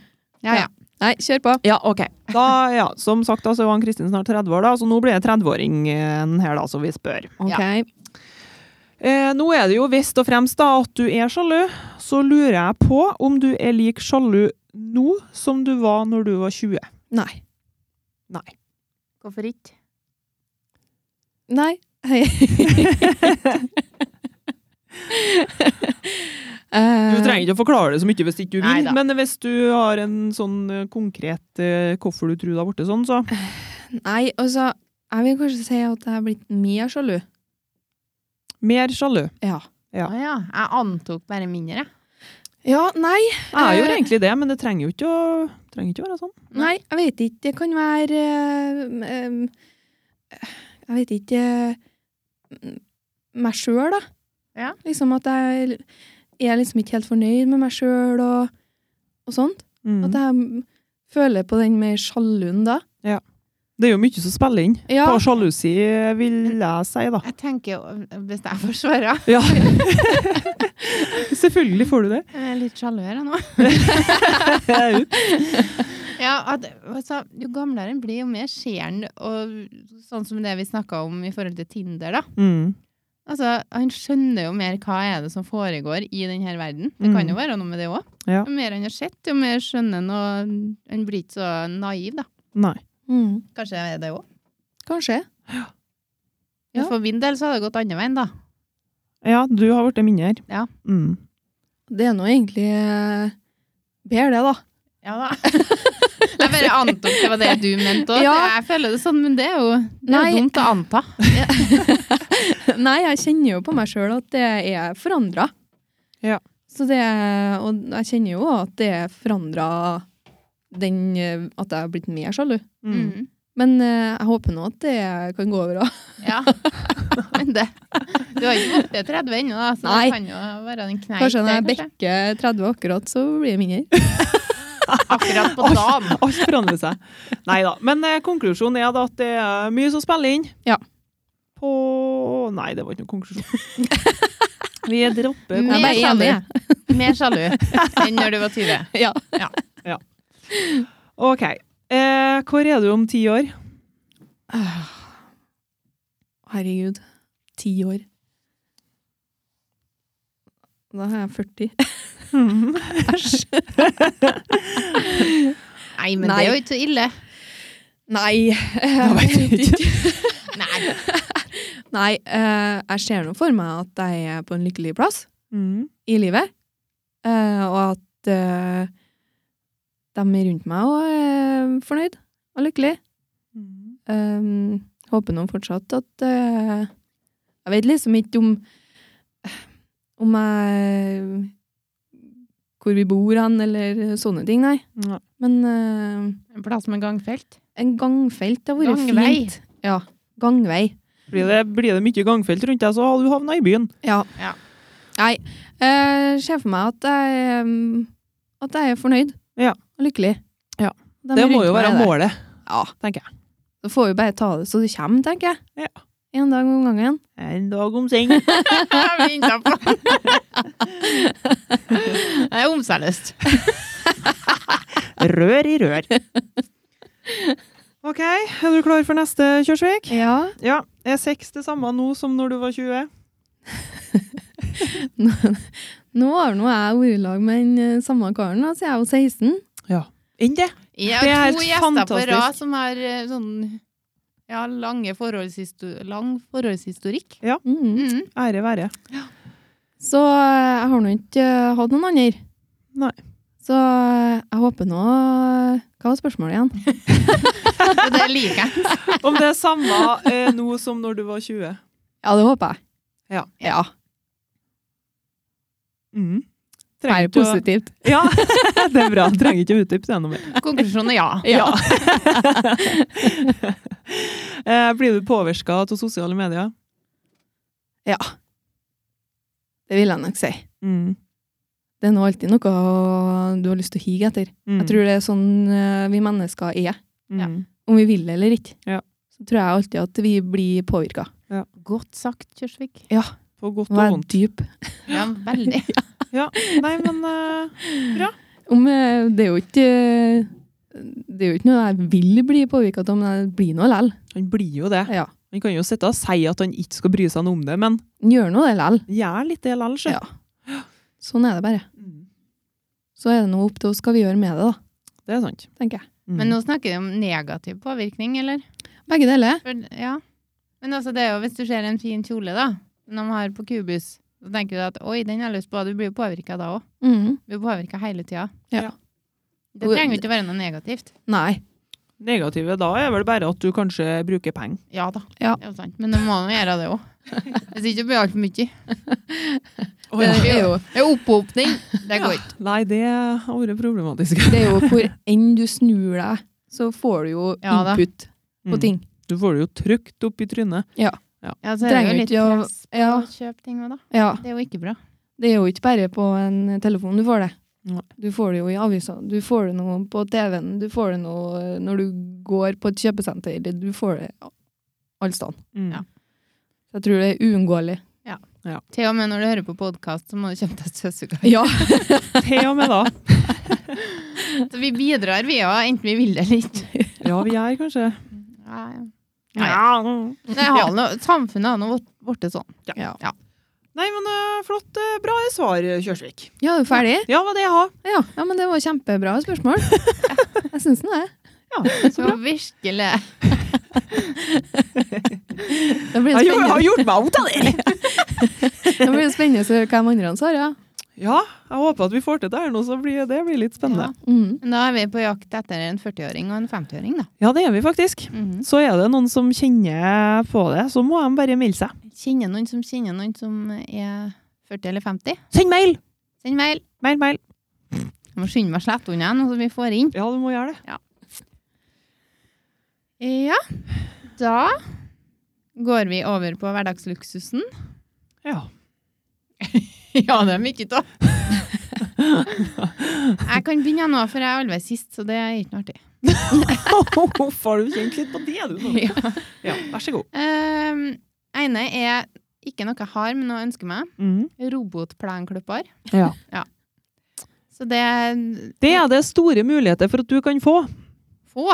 Ja, ja. Nei, kjør på. Ja, ok. Da, ja, som sagt, da, så er jo han Kristin snart 30 år, da, så nå blir eh, det 30-åringen her, da, så vi spør. Ok. Eh, nå er det jo visst og fremst da at du er sjalu, så lurer jeg på om du er lik sjalu nå som du var når du var 20. Nei. Nei. Hvorfor ikke? Nei. Hei. Eh, Du trenger ikke å forklare det så mye hvis ikke du vil, Neida. men hvis du har en sånn eh, konkret eh, hvorfor du tror det har blitt sånn, så Nei, altså, jeg vil kanskje si at jeg har blitt mer sjalu. mer sjalu. Ja. Ja. Å ja. Jeg antok bare mindre. Ja, nei. Jeg gjør Eh. egentlig det, men det trenger jo ikke å, trenger ikke å være sånn. Nei, jeg vet ikke. Det kan være eh, em, Jeg vet ikke eh, meg sjøl, da. Ja. Liksom at jeg er liksom ikke helt fornøyd med meg sjøl og, og sånt. Mm. At jeg føler på den mer sjaluen da. Det er jo mye som spiller inn. Ja. På sjalusi vil jeg si, *laughs* da. Jeg tenker jo, hvis jeg får svare Ja. *laughs* Selvfølgelig får du det. Jeg er litt sjalu her jeg, nå. Ups. Ja, at, altså, jo gamlere en blir, jo mer ser en og sånn som det vi snakka om i forhold til Tinder, da. Mm. Altså, Han skjønner jo mer hva er det som foregår i denne verden. Det kan jo være noe med det òg. Mm. Ja. Jo mer han har sett, jo mer skjønner han, og han blir ikke så naiv, da. Nei. Mm. Kanskje er det òg. Kanskje. Ja. For min del så har det gått andre veien, da. Ja, du har blitt mindre. Ja. Mm. Det er nå egentlig eh, bedre, det, da. *laughs* Ja da. *laughs* Jeg bare antok det var det du mente òg. Ja. Jeg føler det sånn, men det er jo, det er Nei. jo dumt å anta. Nei, jeg kjenner jo på meg sjøl at det er forandra. Ja. Så det, og jeg kjenner jo at det er forandra den eh, At jeg har blitt mer sjalu. Mm. Mm. Men eh, jeg håper nå at det kan gå over òg. Ja. *laughs* Men det Du har ikke blitt 30 ennå, da, så Nei. det kan jo være en kneik Kanskje når jeg der, kanskje. bekker 30 akkurat, så blir det mindre. Akkurat på dagen. *laughs* Alt forandrer seg. Nei da. Men eh, konklusjonen er da at det er mye som spiller inn. Ja. På Nei, det var ikke noen konklusjon. *laughs* Vi dropper Jeg er Mer bare sjalu. enig, *laughs* Mer sjalu enn når du var 20. Ja. OK. Eh, hvor er du om ti år? Herregud. Ti år. Da er jeg *laughs* 40. Æsj. Nei, men det er jo ikke så ille. Nei. Jeg vet ikke. Nei. *laughs* Nei, eh, jeg ser nå for meg at jeg er på en lykkelig plass Mm. i livet. eh, og at eh, de rundt meg også er fornøyd og lykkelig. Eh, håper nå fortsatt at eh, Jeg vet liksom ikke om om jeg hvor vi bor hen, eller sånne ting, nei. Nei. Men eh, En plass med gangfelt. en gangfelt det hadde vært Gangvei. fint. Ja, gangvei. Blir, det, blir det mye gangfelt rundt deg, så har du havna i byen. Ja. Ja. Nei, jeg ser for meg at jeg, mm, at jeg er fornøyd Ja. og lykkelig. Ja. De Det må rundt jo meg være er det. målet, Ja, tenker jeg. Da får vi bare ta det så det kommer, tenker jeg. Ja. En dag om gangen. En dag om *laughs* seng. Jeg venter *laughs* på Det er omseriøst. Rør i rør. *laughs* OK, er du klar for neste, Kjørsvik? Ja. Ja. Er sex det samme nå som når du var 20? Nå har nå jeg vært i lag med den eh, samme karen, da, så jeg er jo 16. Enn det? Jeg Det er har helt to gjester på fantastisk. rad som har eh, sånn ja, lange forholdshisto- lang forholdshistorikk. Mm. Mm. Ære være. Så eh, jeg har nå ikke eh, hatt noen andre. Nei. Så eh, jeg håper nå eh, Hva var spørsmålet igjen? *laughs* Og det liker jeg. Om det er samme eh, nå som når du var 20? Ja, det håper jeg. Ja. ja. Mm. Være positivt. Ja, det er bra. Trenger ikke å utdype det noe mer. Konklusjonen er ja. Ja. Eh, blir du påvirka av sosiale medier? Mm. Det vil jeg nok si. Det er nå alltid noe du har lyst til å hige etter. Mm. Jeg tror det er sånn eh, vi mennesker er. Mm. ja. Om vi vil det eller ikke. Ja. Så tror jeg alltid at vi blir påvirka. Godt sagt, Kjørsvik. På godt og Vær vondt. dyp. Ja, veldig. Nei, men eh, Om, eh, det er jo ikke eh, det er jo ikke noe jeg vil bli påvirka av, men jeg blir nå lell. han blir jo det. Ja. Han kan jo sitte og si at han ikke skal bry seg noe om det, men Gjør nå det lell. han gjør litt det altså. likevel, sjø. Ja. Sånn er det bare. Mm. Så er det noe opp til oss hva vi gjør med det, da, Det er sant. tenker jeg. Mm. Men nå snakker vi om negativ påvirkning, eller? Begge deler. For, ja. Men altså, det er jo hvis du ser en fin kjole, da, som de har på kubus, så tenker du at oi, den har jeg lyst på. Du blir jo påvirka da òg. Mhm. Du blir påvirka hele tida. Ja. Det trenger jo ikke være noe negativt. Nei. Negativet da er vel bare at du kanskje bruker penger. Ja da. Ja. Det er jo sant. Men du må nå gjøre det òg. Hvis ikke blir det altfor mye. Det er jo, Det er opphopning. Det går ikke. Nei, det har vært problematisk. det er jo hvor enn du snur deg, så får du jo Ja da. input på Mm. ting. Du får det jo trygt opp i trynet. Ja, så er det jo Trenger litt ikke å- press på ja. å kjøpe ting òg, da. Ja. Det er jo ikke bra. Det er jo ikke bare på en telefon du får det. Nei. Du får det jo i avisa, du får det nå på TV-en, du får det nå eh, når du går på et kjøpesenter, du får det alle steder. Mm. Ja. Jeg tror det er uunngåelig. Til og med når du hører på podkast, så må du kjøpe deg støvsuger. Ja. Til og med da. *laughs* Så vi bidrar, vi òg, enten vi vil det eller ikke. Ja, vi er kanskje Nei. Nei. Ja. Det har noe, samfunnet har nå blitt sånn. Ja, Nei, men eh, flott. eh, bra svar, Kjørsvik. ja er du ferdig? Ja, hva det jeg har. Ja. ja, men det var kjempebra *laughs* spørsmål. Jeg syns den er. Så virkelig Det blir Jeg har spennende, gjort meg ut av det! *laughs* det blir spennende å høre hva de andre svarer. Ja. Ja, jeg håper at vi får til det her nå, så blir det blir litt spennende. Mm. Men Da er vi på jakt etter en 40-åring og en 50-åring, da. Ja. det er vi faktisk. Så er det noen som kjenner på det, så må de bare melde seg. Kjenner noen som kjenner noen som er 40 eller 50? Send mail! Send mail. Mail, mail. Jeg må skynde meg å slette unna noe som vi får inn. Ja, du må gjøre det. Ja. Da går vi over på hverdagsluksusen. Ja. *laughs* *laughs* Ja, det er mye av. *laughs* Jeg kan begynne nå, for jeg er alvorlig sist, så det er ikke noe artig. Har du kjent litt på det, du? nå? *laughs* Ja. Ja, vær så god. Um, ene er ikke noe jeg har, men noe jeg ønsker meg. Mm. Robotplenklipper. Ja. Så det er Det er det store muligheter for at du kan få. få.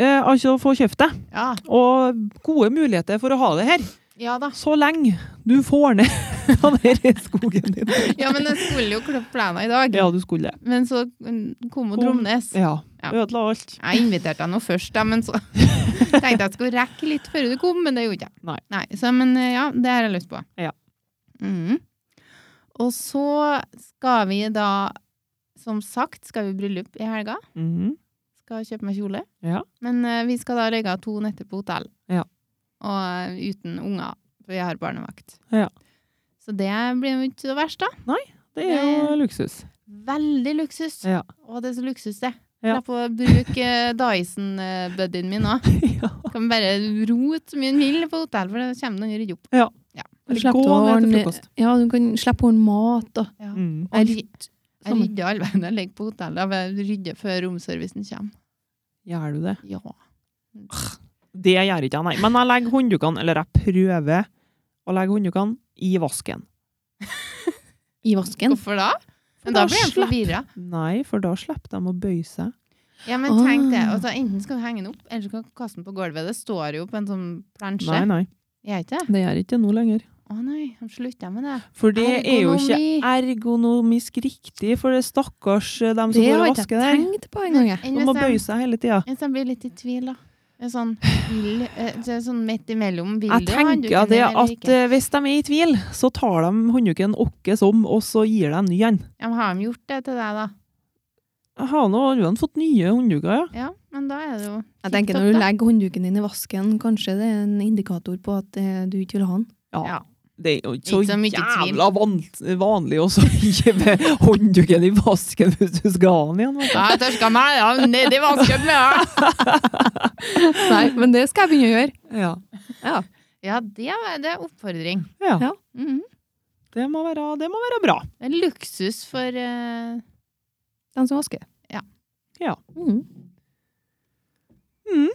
Eh, altså få kjøpt det. Ja. Og gode muligheter for å ha det her. ja da. Så lenge du får ned *laughs* den her skogen din. *laughs* Ja, men jeg skulle jo klippe plenen i dag. Ja, du skulle det. Men så mm, kom hun Kom. Dromnes. Ja. Ja. Ødela alt. Jeg inviterte henne først, da, men så *laughs* tenkte jeg at jeg skulle rekke litt før du kom, men det gjorde jeg ikke. Nei. så, men eh, ja, det har jeg lyst på. Ja. Mhm. Og så skal vi da, som sagt, skal vi i bryllup i helga. Mhm. Skal kjøpe meg kjole. Ja. Men eh, vi skal da legge to netter på hotell. Ja. Og eh, uten unger, for jeg har barnevakt. Ja. Så det blir jo ikke så verst, da. Det er jo luksus. Veldig luksus. Ja. Å, det er så luksus, det. Ja. Slapp å bruke eh, Dyson-buddyen min òg. *laughs* ja. Kan bare rote så mye en vil på hotell, for det kommer noen og rydder opp. Du Eller gå slipper å ned til ordne- frokost. Ja, du kan slippe å ordne mat og Mm. Jeg, ry- jeg Sammen. rydder all veien jeg ligger på hotellet. Jeg rydder før romservicen kommer. Gjør du det? Ja. Det gjør ikke jeg, nei. Men jeg legger hånddukene, eller jeg prøver å legge hånddukene, i vasken. i vasken. Hvorfor da? Men da da blir jeg slapp- forvirra. Nei, for da slipper de å bøye seg. Ja, men tenk det. Ah. Altså, enten skal du henge den opp, eller så kan du kaste den på gulvet. Det står jo på en sånn plansje. Nei, nei. Gjør ikke det? Det gjør ikke det nå lenger. Å nei, de slutta med det. For det er jo ikke Ergonomi. ergonomisk riktig for det stakkars eh, dem som Det går har og ikke jeg vasker der. tenkt på engang, jeg. Enn De må hvis bøye jeg- seg hele tida. hvis jeg blir litt i tvil, da. Jeg er sånn, vil, eh, så er det sånn midt imellom. Vil Jeg du ha handduken tenker det eller at ikke? eh, hvis de er i tvil, så tar de håndduken åkke som, og så gir de en ny en. Ja, men har de gjort det til deg, da? Jeg har nå allerede fått nye håndduker, ja. Ja, men da er det jo Jeg tenker tipp Når du topp, da. legger håndduken din i vasken, kanskje det er en indikator på at eh, du ikke vil ha den. Ja. Det er jo ikke Ikke så så mye tvil. jævla van vanlig å så gi *laughs* med håndduken i vasken hvis du skal ha den igjen. vet du. Ja, jeg tørka meg ja, nedi vasken med det. *laughs* Nei, men det skal jeg begynne å gjøre. Ja. Ja, det, var, det er oppfordring. ja. Ja. Mm. Mhm. Det må være, det må være bra. Det er luksus for eh, Den som vasker. Ja. Ja. Mm. *laughs* Mm.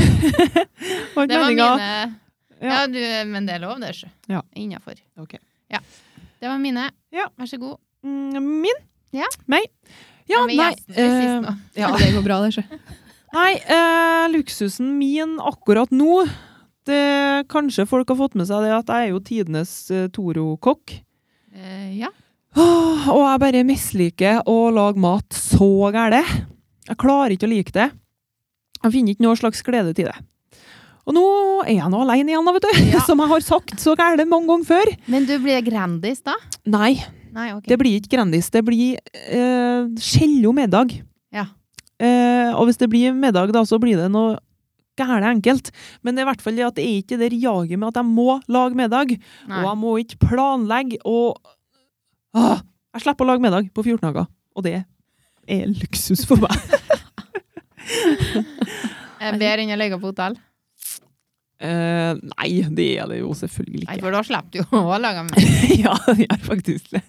Det var meningen. mine Ja. Ja, du, men det er lov, det, sjø. Ja. Innafor. Ok. Ja. Det var mine. Ja. Vær så god. Mm, Min? Ja. Meg? Ja, men nei. gjesten blir sist nå. eh, ja. Det går bra, det, sjø. Nei, eh, luksusen min akkurat nå det, Kanskje folk har fått med seg det at jeg er jo tidenes eh, Toro-kokk. Eh, ja. Åh, Og jeg bare misliker å lage mat så gæle. Jeg klarer ikke å like det. Jeg finner ikke noe slags glede til det. Og nå er jeg nå alene igjen, da, vet du. Ja. *laughs* Som jeg har sagt så gæle mange ganger før. Men du blir grandis da? Nei, Nei, ok. det blir ikke Grandis. Det blir eh, skjello middag. Ja. Eh, og hvis det blir middag, da, så blir det noe gæle enkelt. Men det er i hvert fall det at det er ikke det der jaget med at jeg må lage middag. Og Nei. jeg må ikke planlegge og Åh, Jeg slipper å lage middag på 14 dager, og det er luksus for meg. *laughs* Er det Bedre enn å ligge på hotell? Eh, nei, det er det jo selvfølgelig Nei, ikke. for da slipper du jo å lage med. *laughs* ja, det gjør faktisk *laughs* det.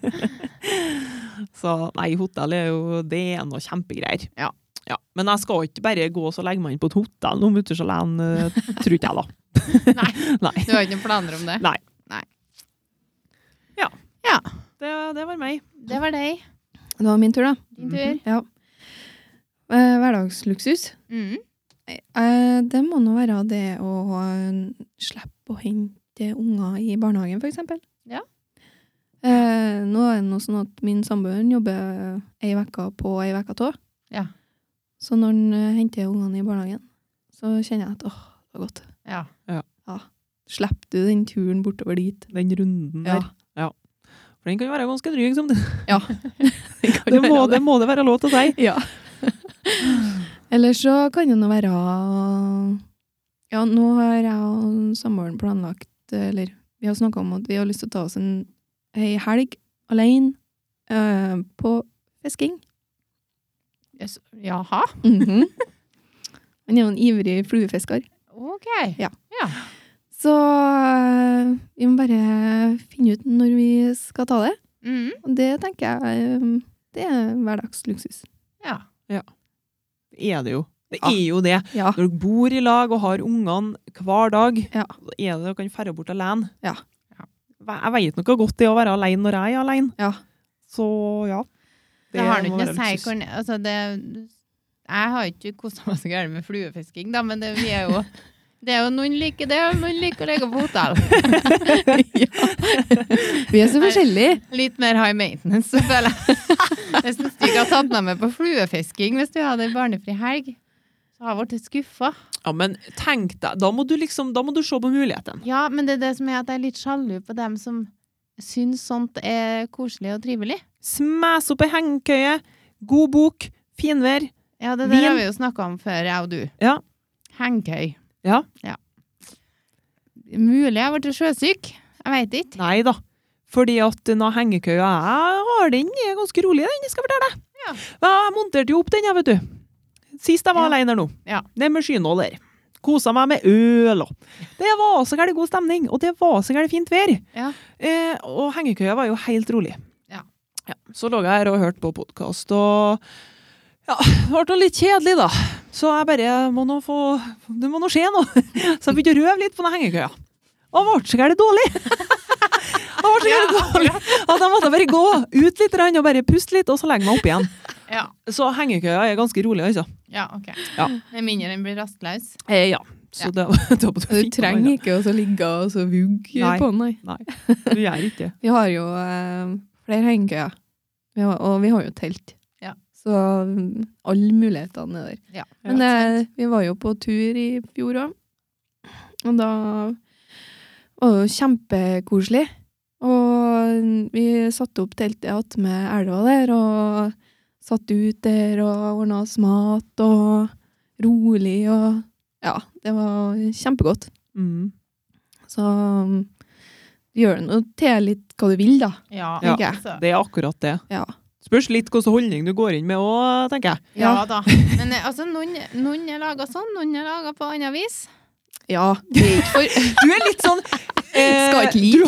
så nei, hotell er jo Det er noe kjempegreier. Ja. Ja, Men jeg skal ikke bare gå og så legge meg inn på et hotell noen minutter alene, eh, tror ikke jeg, da. Nei. *laughs* nei. Du har ikke noen planer om det? Nei. Nei. Ja. Ja. Det, det var meg. Det var deg. Det var min tur, da. Din tur. Ja. Eh, hverdagsluksus. Mm. Eh, det må nå være det å ha- slippe å hente unger i barnehagen, for eksempel. Ja. Eh, nå er det noe sånn at min samboer jobber ei uke på ei uke tå. Ja. Så når han eh, henter ungene i barnehagen, så kjenner jeg at åh, det var godt. Ja. Slipper du den turen bortover dit? Den runden Ja. der. For den kan jo være ganske dryg. Som det. *laughs* Det, kan Det, være må, det må det være lov til å si. Ja. Eller så kan det nå være Ja, nå har jeg og samboeren planlagt Eller vi har snakka om at vi har lyst til å ta oss en ei helg alene eh, på fisking. Yes. Jaha. Mhm. *laughs* Han er jo en ivrig fluefisker. Ok. Så eh, vi må bare finne ut når vi skal ta det. Mm. Og det tenker jeg eh, det er hverdagsluksus. Ja. Det er det jo. Det Ja. er jo det. Ja. Når dere bor i lag og har ungene hver dag, Ja. så er det dere kan ferde bort alene. Ja. Ja. Jeg vet noe godt det å være alene når jeg er alene. Ja. Så ja. Det, har du må ikke noe å være si luksus. hvor altså det, Jeg har ikke kosa meg så gærent med fluefisking, da, men det, vi er *laughs* jo det er jo Noen liker det, og noen liker å ligge på hotell. Vi er så forskjellige! Litt mer high maintenance, så føler *laughs* jeg. Hvis en stykke hadde tatt meg med på fluefisking hvis vi hadde en barnefri helg, så hadde jeg blitt skuffa. Ja, men tenk deg, da må du liksom, da må du se på muligheten. Ja, men det er det som er at jeg er litt sjalu på dem som syns sånt er koselig og trivelig. Smes opp ei hengekøye, god bok, finvær. Ja, det der Vin. har vi jo snakka om før, jeg og du. Ja. Hengekøy. Ja. Mulig jeg ble sjøsyk. Jeg veit ikke. Nei da. Fordi at den hengekøya jeg har, den er ganske rolig, den, jeg skal fortelle deg. Ja. Jeg monterte jo opp den, jeg, vet du. Sist jeg var Ja. alene her nå. Ja. Ned med skynål der. Kosa meg med øl og Det var så gæren god stemning, og det var så gæren fint vær. Ja. Eh, og hengekøya var jo helt rolig. Ja. Ja, Så lå jeg her og hørte på podkast, og ja, det ble nå litt kjedelig, da. Så jeg bare må nå få Det må nå skje noe. *laughs* Så jeg begynte å røve litt på den hengekøya. Og ble så gæren dårlig. *laughs* Jeg ble så gæren dårlig at jeg måtte bare gå ut litt grann og bare puste litt, og så legge meg opp igjen. Ja, Så hengekøya er ganske rolig, altså. ja ok. Ja. Med mindre den blir rastløs. Eh, ja. Ja. Så det var *laughs* det var på Du fint, trenger ikke å så ligge og så vugge Nei. på den. nei. Du gjør ikke det. Vi har jo eh, flere hengekøyer, Vi har- og vi har jo telt. Ja. Så mm, alle mulighetene er der. Ja. Men eh, vi var jo på tur i fjor òg, og da var det jo kjempekoselig. Og mm, vi satte opp teltet attmed elva der, og satt ut der og ordna oss mat og rolig og Ja, det var kjempegodt. Mm. Så mm, gjør det nå til litt hva du vil, da. Ja, Altså, Ja. tenker jeg. Det er akkurat det. Ja. Spørs litt hvilken holdning du går inn med òg, tenker jeg. ja Ja. da. Men eh, altså, noen, noen er laga sånn, noen er laga på annet vis. Ja, det er ikke for Du er litt sånn eh, Skal har ikke likt Du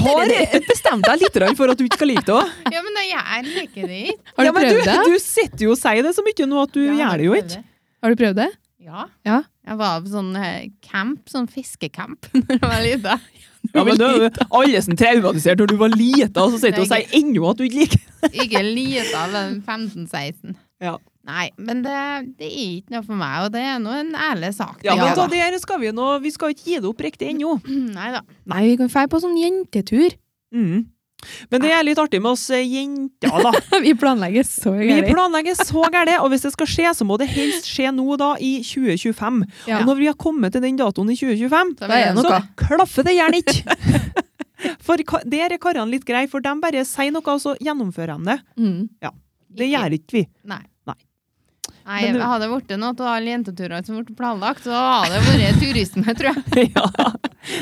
har bestemt deg litt grann for at du ikke skal like det òg. Ja, men da jeg liker det ikke. *laughs* Har du Ja, men prøvd det? Du, du sitter jo og sier det så mye nå at du Ja, gjør det jo prøvde. ikke. Har du prøvd det? Ja. Ja. Jeg var på sånn eh, camp, sånn *laughs* fiskecamp, da jeg var lita. Ja, men du, alle som traumatiserte når du var lita, og så sitter du og Nei, sier ennå at du ikke liker Ikke lita, men 15-16. Ja. Nei, men det, det er ikke noe for meg, og det er nå en ærlig sak. Ja, men Ja, da, det her skal vi nå Vi skal ikke gi det opp riktig ennå. Nei da. Nei, vi kan dra på sånn jentetur. Mm. Men det er litt artig med oss eh, jenter, da. *laughs* Vi planlegger så Vi gærent. planlegger så gærent, og hvis det skal skje, så må det helst skje nå, da, i 2025. Ja. Og når vi har kommet til den datoen i 2025, Da vil Da er det jeg- noe. så klaffer det gjerne ikke. *laughs* For ka- der er karene litt greie, for de bare sier noe, og så gjennomfører de det. Mm. Det gjør ikke vi. *laughs* Nei. Nei. Nei, Men du- Hadde det blitt noe av alle jenteturene som ble planlagt, så hadde det vært turisme, tror jeg. ja.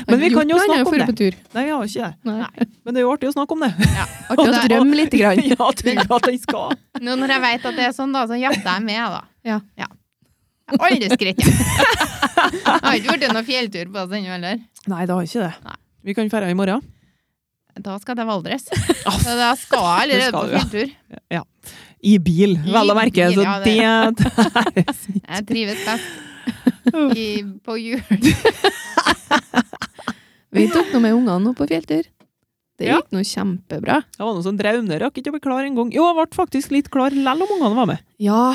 Men vi kan jo Gjort noe annet snakke om før det. på tur. Nei, vi har jo ikke det. Nei. Men det er jo artig å snakke om det. Artig å Og det- drømme litt. *laughs* Grann. *laughs* ja, tror at den skal. Nå når jeg vet at det er sånn, da, så gjetter jeg med, da. Ja. Jeg har Aldri skritt, jeg. Jeg Har ikke vært noen fjelltur på oss ennå heller. Nei, det har ikke det. Nei. Vi kan dra i morgen. Da skal jeg til Valdres. Ja, Så da skal jeg Det allerede skal på du, ja. fjelltur. I bil, I vel å merke. bil, Så ja, det, Jeg trives best i, på jul. Vi tok noe med ungene nå på fjelltur. Det Ja. gikk nå kjempebra. *laughs* det var noe sånn draune. Rakk ikke å bli klar engang. Jo, jeg ble faktisk litt klar lell om ungene var med. Ja,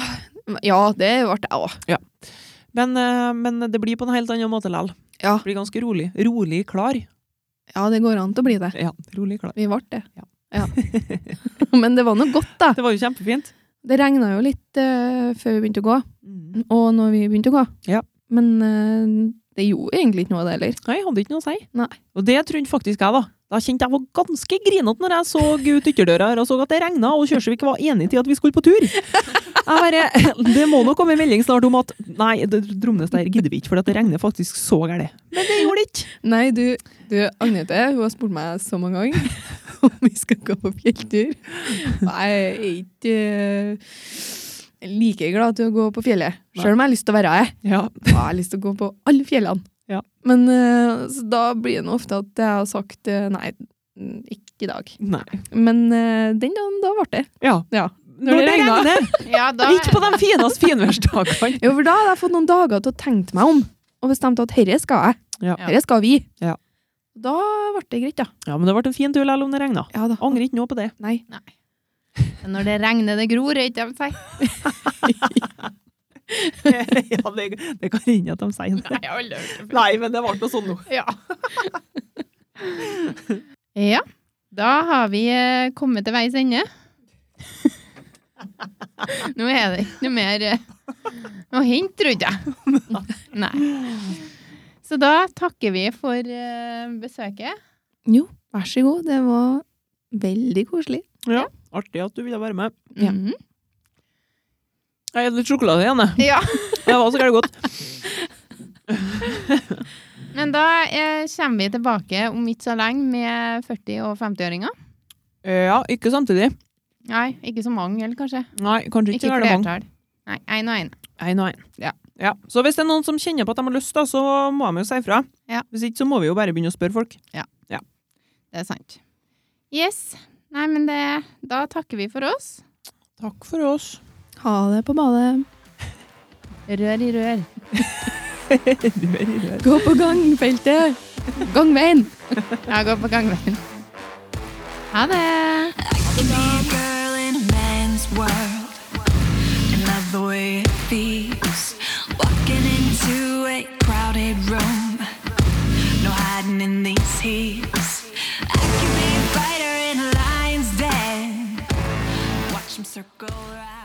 ja det ble jeg òg. Men, eh, men det blir på en helt annen måte lell. Ja. Blir ganske rolig. Rolig klar. Ja, det går an til å bli det. Ja, rolig klar. Vi ble det. Ja. *laughs* Ja. Men det var nå godt, da. Det var jo kjempefint. Det regna jo litt eh, før vi begynte å gå, Mm. og når vi begynte å gå. Ja. Men eh, det gjorde egentlig ikke noe, det heller. Nei, hadde ikke noe å si. Nei. Og det trodde faktisk jeg, da. Da kjente jeg var ganske grinete når jeg så ut ytterdøra her og så at det regna, og Kjørsvik var enig til at vi skulle på tur. Jeg bare, *laughs* Det må nok komme en melding snart om at nei, det Dromnes der gidder vi ikke, for at det regner faktisk så gærent. Men det gjorde det ikke. Nei, du, du Agnete hun har spurt meg så mange ganger *laughs* om vi skal gå på fjelltur. Og jeg er ikke eh, like glad til å gå på fjellet, sjøl om jeg har lyst til å være her. Ja. Og jeg har lyst til å gå på alle fjellene. Ja. Men eh, så da blir det nå ofte at jeg har sagt eh, nei, mm, ikke i dag. Nei. Men eh, den dagen da ble det. Ja. Ja. Når, det regner. *laughs* Ja, da, Ikke på de fineste finværsdagene. Jo, for da hadde jeg fått noen dager til å tenke meg om, og bestemte at herre skal jeg. Ja. Herre skal vi. Ja. Da ble det greit, da. Ja, men det ble en fin tur lell om det regna. Ja da. Angrer ikke nå på det. Nei. Når det regner, det gror, er ikke det de sier? *laughs* ja, det, det kan hende at de sier det. jeg har aldri hørt det før. Nei, men det ble noe sånn nå. Ja. *laughs* ja. Da har vi eh, kommet til veis *laughs* ende. Nå er det ikke noe mer eh, å hente, trodde jeg. Nei. Så da takker vi for eh, besøket. Jo, vær så god. Det var veldig koselig. Artig at du ville være med. Ja. Mhm. Jeg gir litt sjokolade igjen, jeg. ja. *laughs* Det var så gærent godt. Men da eh, kommer vi tilbake om ikke så lenge med 40- og 50-åringer. Ja, ikke samtidig. Nei, ikke så mange, eller kanskje? Nei, kanskje Ikke ikke, ikke mange. flertall. Nei, én og én. En og en. Ja. Så hvis det er noen som kjenner på at de har lyst, da, så må de jo si ifra. Ja. Hvis ikke, så må vi jo bare begynne å spørre folk. Det er sant. Yes. Nei, men det, da takker vi for oss. Takk for *laughs* oss. Ha det på badet. Rør i rør. Gå på gangfeltet! Gangveien! Jeg går på gangveien. Ha det! Be a girl in a man's world. And love the way it feels. Walking into a crowded room. No hiding in these heels. I can be brighter in a lion's den. Watch 'em circle around.